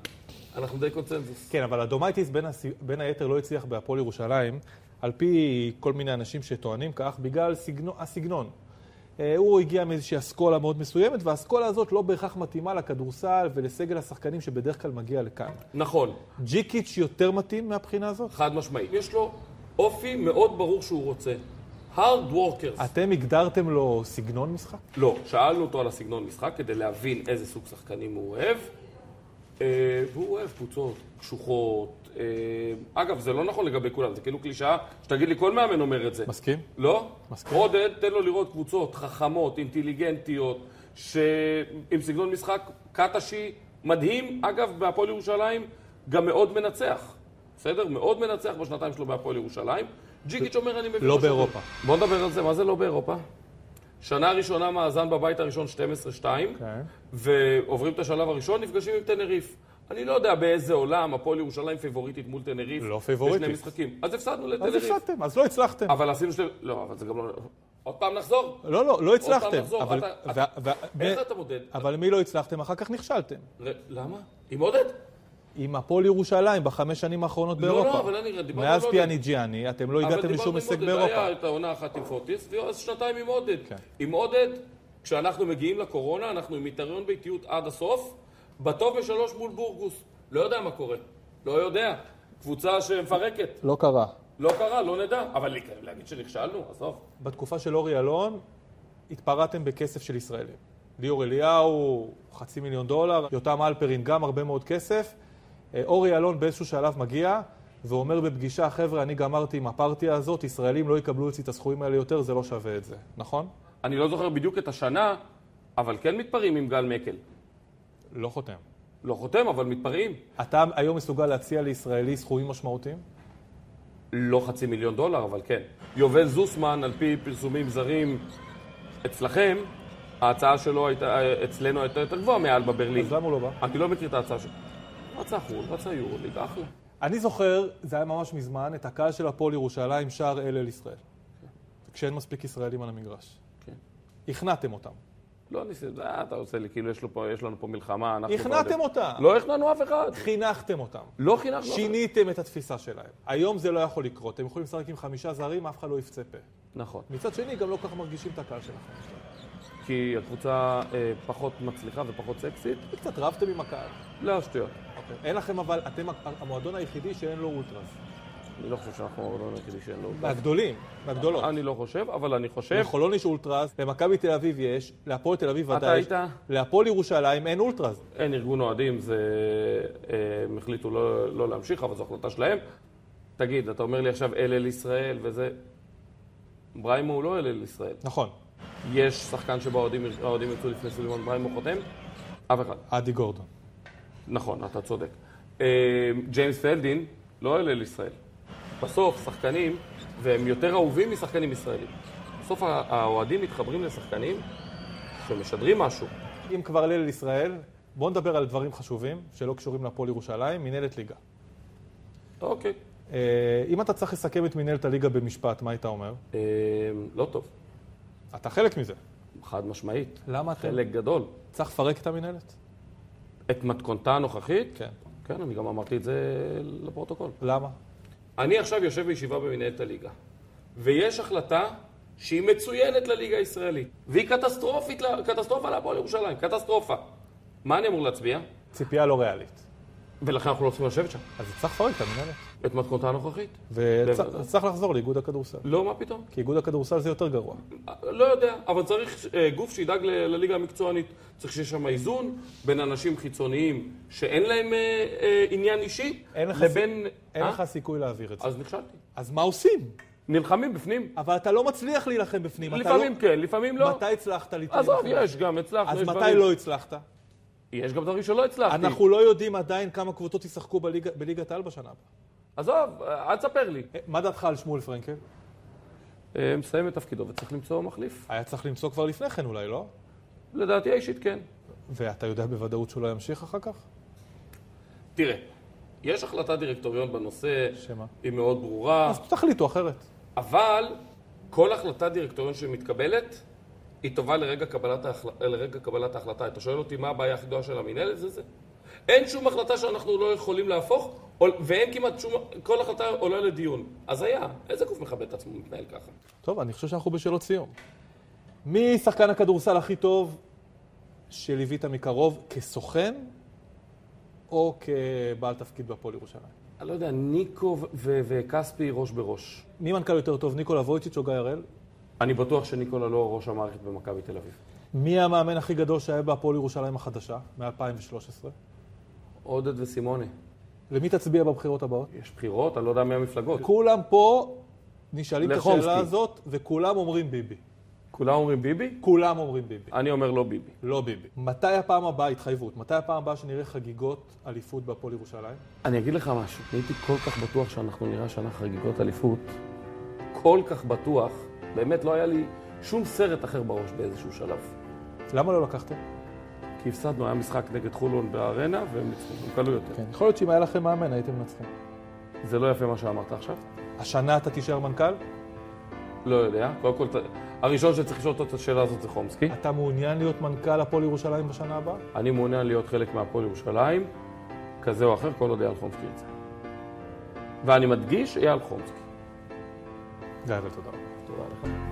[SPEAKER 3] אנחנו די קונצנזוס.
[SPEAKER 1] כן, אבל אדומייטיס בין, הס... בין היתר לא הצליח בהפועל ירושלים, על פי כל מיני אנשים שטוענים כך, בגלל סגנו... הסגנון. אה, הוא הגיע מאיזושהי אסכולה מאוד מסוימת, והאסכולה הזאת לא בהכרח מתאימה לכדורסל ולסגל השחקנים שבדרך כלל מגיע לכאן.
[SPEAKER 3] נכון,
[SPEAKER 1] ג'יקיץ' יותר מתאים מהבחינה הזאת?
[SPEAKER 3] חד משמעית. יש לו אופי מאוד ברור שהוא רוצה. hard workers.
[SPEAKER 1] אתם הגדרתם לו סגנון משחק?
[SPEAKER 3] לא, שאלנו אותו על הסגנון משחק כדי להבין איזה סוג שחקנים הוא אוהב. אה, והוא אוהב קבוצות קשוחות. אה, אגב, זה לא נכון לגבי כולם, זה כאילו קלישאה שתגיד לי, כל מאמן אומר את זה.
[SPEAKER 1] מסכים?
[SPEAKER 3] לא?
[SPEAKER 1] מסכים.
[SPEAKER 3] עודד, תן לו לראות קבוצות חכמות, אינטליגנטיות, ש... עם סגנון משחק קטשי מדהים. אגב, בהפועל ירושלים גם מאוד מנצח. בסדר? מאוד מנצח בשנתיים שלו בהפועל ירושלים. ג'יקיץ' אומר, אני מבין...
[SPEAKER 1] לא
[SPEAKER 3] מה שאתם-"
[SPEAKER 1] באירופה.
[SPEAKER 3] בוא נדבר על זה, מה זה לא באירופה? שנה ראשונה מאזן בבית הראשון 12-2,
[SPEAKER 1] כן.
[SPEAKER 3] ועוברים את השלב הראשון, נפגשים עם תנריף. אני לא יודע באיזה עולם הפועל ירושלים פיבוריטית מול תנריף.
[SPEAKER 1] לא פיבוריטית.
[SPEAKER 3] בשני משחקים. אז הפסדנו
[SPEAKER 1] אז
[SPEAKER 3] לתנריף.
[SPEAKER 1] הפסדתם, אז לא הצלחתם.
[SPEAKER 3] אבל עשינו שתי... לא, אבל זה גם לא... עוד פעם נחזור.
[SPEAKER 1] לא, לא, לא
[SPEAKER 3] פעם
[SPEAKER 1] הצלחתם.
[SPEAKER 3] נחזור,
[SPEAKER 1] אבל-
[SPEAKER 3] אתה-
[SPEAKER 1] ו- ו-
[SPEAKER 3] איך
[SPEAKER 1] ו-
[SPEAKER 3] אתה מודד?
[SPEAKER 1] אבל מי לא הצלחתם? אחר כך נכשלתם.
[SPEAKER 3] ר- למה? עם עודד?
[SPEAKER 1] עם הפועל ירושלים בחמש שנים האחרונות
[SPEAKER 3] לא,
[SPEAKER 1] באירופה.
[SPEAKER 3] אבל אני- דיברנו על
[SPEAKER 1] מאז
[SPEAKER 3] עודד.
[SPEAKER 1] פיאניג'יאני, אתם לא
[SPEAKER 3] אבל
[SPEAKER 1] הגעתם לשום
[SPEAKER 3] דיברנו עם
[SPEAKER 1] הישג
[SPEAKER 3] עודד,
[SPEAKER 1] באירופה.
[SPEAKER 3] היה את העונה האחת עם פוטיס, ואז שנתיים עם עודד.
[SPEAKER 1] כן.
[SPEAKER 3] עם עודד, כשאנחנו מגיעים לקורונה, אנחנו עם יתרון באיטיות עד הסוף, בטוב בשלוש מול בורגוס. לא יודע מה קורה. לא יודע. קבוצה שמפרקת.
[SPEAKER 1] לא קרה.
[SPEAKER 3] לא קרה, לא נדע. אבל להגיד שנכשלנו, עזוב.
[SPEAKER 1] בתקופה של אורי אלון, התפרעתם בכסף של ישראלים. ליאור אליהו, חצי מיליון דולר, יותם אלפרין, גם הרבה מאוד כסף. אה, אורי אלון באיזשהו שלב מגיע ואומר בפגישה, חבר'ה, אני גמרתי עם הפרטיה הזאת, ישראלים לא יקבלו אצלי את הסכומים האלה יותר, זה לא שווה את זה, נכון?
[SPEAKER 3] אני לא זוכר בדיוק את השנה, אבל כן מתפרעים עם גל מקל.
[SPEAKER 1] לא חותם.
[SPEAKER 3] לא חותם, אבל מתפרעים.
[SPEAKER 1] אתה היום מסוגל להציע לישראלי סכומים משמעותיים?
[SPEAKER 3] לא חצי מיליון דולר, אבל כן. יובל זוסמן, על פי פרסומים זרים אצלכם, ההצעה שלו הייתה, אצלנו הייתה יותר גבוהה מאלבה ברלין.
[SPEAKER 1] אז למה הוא לא בא?
[SPEAKER 3] אני לא מכיר את ההצעה שלו. רצה חו"ל, רצה יורוליג, אחלה.
[SPEAKER 1] אני זוכר, זה היה ממש מזמן, את הקהל של הפועל ירושלים שר אל אל ישראל. כשאין מספיק ישראלים על המגרש.
[SPEAKER 3] כן.
[SPEAKER 1] הכנעתם אותם.
[SPEAKER 3] לא ניסיתי, אה, אתה עושה לי, כאילו יש, לו פה, יש לנו פה מלחמה, אנחנו...
[SPEAKER 1] הכנעתם
[SPEAKER 3] בעד-
[SPEAKER 1] אותם.
[SPEAKER 3] לא הכנענו אף אחד.
[SPEAKER 1] חינכתם אותם.
[SPEAKER 3] לא חינכנו. אף אחד.
[SPEAKER 1] שיניתם את התפיסה שלהם. היום זה לא יכול לקרות. אתם יכולים לשחק עם חמישה זרים, אף אחד לא יפצה פה.
[SPEAKER 3] נכון.
[SPEAKER 1] מצד שני, גם לא כל כך מרגישים את הקהל שלכם.
[SPEAKER 3] כי הקבוצה אה, פחות מצליחה ופחות סקסית.
[SPEAKER 1] קצת רבתם עם הקהל.
[SPEAKER 3] לא, שטויות.
[SPEAKER 1] אוקיי. אין לכם אבל, אתם המועדון היחידי שאין לו אולטרס.
[SPEAKER 3] אני לא חושב שאנחנו לא נגיד שאין לו...
[SPEAKER 1] מהגדולים, מהגדולות.
[SPEAKER 3] אני לא חושב, אבל אני חושב...
[SPEAKER 1] לחולון יש אולטרס, למכבי תל אביב יש, להפועל תל אביב
[SPEAKER 3] אתה
[SPEAKER 1] ודאי יש.
[SPEAKER 3] היית?
[SPEAKER 1] להפועל ירושלים אין אולטרס.
[SPEAKER 3] אין ארגון אוהדים, זה... אה, הם החליטו לא, לא להמשיך, אבל זו החלטה שלהם. תגיד, אתה אומר לי עכשיו אל אל ישראל וזה... בריימו הוא לא אל אל ישראל.
[SPEAKER 1] נכון,
[SPEAKER 3] יש שחקן שבו האוהדים האוהדים יצאו לפני סולימון בריימו חותם? אף אחד.
[SPEAKER 1] אדי גורדון.
[SPEAKER 3] נכון, אתה צודק. אה, ג'יימס פלדין לא אל אל ישראל. בסוף שחקנים, והם יותר אהובים משחקנים ישראלים. בסוף הא- האוהדים מתחברים לשחקנים שמשדרים משהו.
[SPEAKER 1] אם כבר ליל ישראל, בואו נדבר על דברים חשובים שלא קשורים להפועל ירושלים, מנהלת ליגה.
[SPEAKER 3] אוקיי.
[SPEAKER 1] אה, אם אתה צריך לסכם את מנהלת הליגה במשפט, מה היית אומר?
[SPEAKER 3] אה, לא טוב.
[SPEAKER 1] אתה חלק מזה.
[SPEAKER 3] חד משמעית.
[SPEAKER 1] למה אתם?
[SPEAKER 3] חלק גדול.
[SPEAKER 1] צריך לפרק את המנהלת?
[SPEAKER 3] את מתכונתה הנוכחית?
[SPEAKER 1] כן.
[SPEAKER 3] כן, אני גם אמרתי את זה לפרוטוקול.
[SPEAKER 1] למה?
[SPEAKER 3] אני עכשיו יושב בישיבה במנהלת הליגה, ויש החלטה שהיא מצוינת לליגה הישראלית, והיא קטסטרופית, ל- קטסטרופה להפועל ירושלים, קטסטרופה. מה אני אמור להצביע?
[SPEAKER 1] ציפייה לא ריאלית.
[SPEAKER 3] ולכן אנחנו לא צריכים לשבת שם.
[SPEAKER 1] אז צריך לפרק את המנהלת.
[SPEAKER 3] את מתכונתה הנוכחית?
[SPEAKER 1] וצריך צריך לחזור לאיגוד הכדורסל.
[SPEAKER 3] לא, מה פתאום?
[SPEAKER 1] כי איגוד הכדורסל זה יותר גרוע.
[SPEAKER 3] לא יודע, אבל צריך אה, גוף שידאג ל- לליגה המקצוענית. צריך שיש שם איזון בין אנשים חיצוניים שאין להם אה, אה, עניין אישי,
[SPEAKER 1] אין לך
[SPEAKER 3] לבין...
[SPEAKER 1] אין
[SPEAKER 3] אה?
[SPEAKER 1] לך סיכוי להעביר את זה.
[SPEAKER 3] אז נכשלתי.
[SPEAKER 1] אז מה עושים?
[SPEAKER 3] נלחמים בפנים.
[SPEAKER 1] אבל אתה לא מצליח להילחם בפנים. אתה
[SPEAKER 3] לפעמים
[SPEAKER 1] לא-
[SPEAKER 3] כן, לפעמים לא.
[SPEAKER 1] מתי הצלחת להתעלם?
[SPEAKER 3] עזוב, יש גם, הצלחנו,
[SPEAKER 1] אז
[SPEAKER 3] יש
[SPEAKER 1] מתי
[SPEAKER 3] דברים.
[SPEAKER 1] לא הצלחת?
[SPEAKER 3] יש גם דברים שלא הצלחתי.
[SPEAKER 1] אנחנו לא יודעים עדיין כמה קבוצות ישחקו בליגה- בליגת העל בשנה הבאה.
[SPEAKER 3] עזוב, אה, אל תספר לי.
[SPEAKER 1] אה, מה דעתך על שמואל פרנקל?
[SPEAKER 3] אה, מסיים את תפקידו וצריך למצוא מחליף.
[SPEAKER 1] היה צריך למצוא כבר לפני כן אולי, לא?
[SPEAKER 3] לדעתי האישית כן.
[SPEAKER 1] ואתה יודע בוודאות שהוא לא ימשיך אחר כך?
[SPEAKER 3] תראה, יש החלטת דירקטוריון בנושא,
[SPEAKER 1] שמה?
[SPEAKER 3] היא מאוד ברורה,
[SPEAKER 1] אז תחליטו אחרת.
[SPEAKER 3] אבל כל החלטת דירקטוריון שמתקבלת, היא טובה לרגע קבלת, ההחל... לרגע קבלת ההחלטה. אתה שואל אותי מה הבעיה הכי גדולה של המינהלת? זה זה. אין שום החלטה שאנחנו לא יכולים להפוך, או- ואין כמעט שום... כל החלטה עולה לדיון. אז היה. איזה גוף מכבד את עצמו מתנהל ככה?
[SPEAKER 1] טוב, אני חושב שאנחנו בשאלות סיום. מי שחקן הכדורסל הכי טוב שליווית מקרוב כסוכן או כבעל תפקיד בהפועל ירושלים?
[SPEAKER 3] אני לא יודע, ניקו ו- ו- וכספי ראש בראש.
[SPEAKER 1] מי מנכ"ל יותר טוב, ניקולה וויצ'יץ' או גיא הראל?
[SPEAKER 3] אני בטוח שניקולה לא ראש המערכת במכבי תל אביב.
[SPEAKER 1] מי המאמן הכי גדול שהיה בהפועל ירושלים החדשה, מ-2013?
[SPEAKER 3] עודד וסימוני.
[SPEAKER 1] למי תצביע בבחירות הבאות?
[SPEAKER 3] יש בחירות, אני לא יודע מי המפלגות.
[SPEAKER 1] כולם פה נשאלים את
[SPEAKER 3] לחומסקי.
[SPEAKER 1] השאלה הזאת, וכולם אומרים ביבי.
[SPEAKER 3] כולם אומרים ביבי?
[SPEAKER 1] כולם אומרים ביבי.
[SPEAKER 3] אני אומר לא ביבי.
[SPEAKER 1] לא ביבי. מתי הפעם הבאה, התחייבות, מתי הפעם הבאה שנראה חגיגות אליפות בהפועל ירושלים?
[SPEAKER 3] אני אגיד לך משהו, הייתי כל כך בטוח שאנחנו נראה שנה חגיגות אליפות, כל כך בטוח, באמת לא היה לי שום סרט אחר בראש באיזשהו שלב.
[SPEAKER 1] למה לא לקחתם?
[SPEAKER 3] כי הפסדנו, היה משחק נגד חולון בארנה, והם ניצחו, הם קלו יותר.
[SPEAKER 1] כן. יכול להיות שאם היה לכם מאמן הייתם מנצחים.
[SPEAKER 3] זה לא יפה מה שאמרת עכשיו?
[SPEAKER 1] השנה אתה תישאר מנכ"ל?
[SPEAKER 3] לא יודע. קודם כל, ת- הראשון שצריך לשאול אותו את השאלה הזאת זה חומסקי.
[SPEAKER 1] אתה מעוניין להיות מנכ"ל הפועל ירושלים בשנה הבאה?
[SPEAKER 3] אני מעוניין להיות חלק מהפועל ירושלים, כזה או אחר, כל עוד אייל חומסקי ירצה. ואני מדגיש, אייל חומסקי.
[SPEAKER 1] גיא, אבל תודה רבה.
[SPEAKER 3] תודה לך.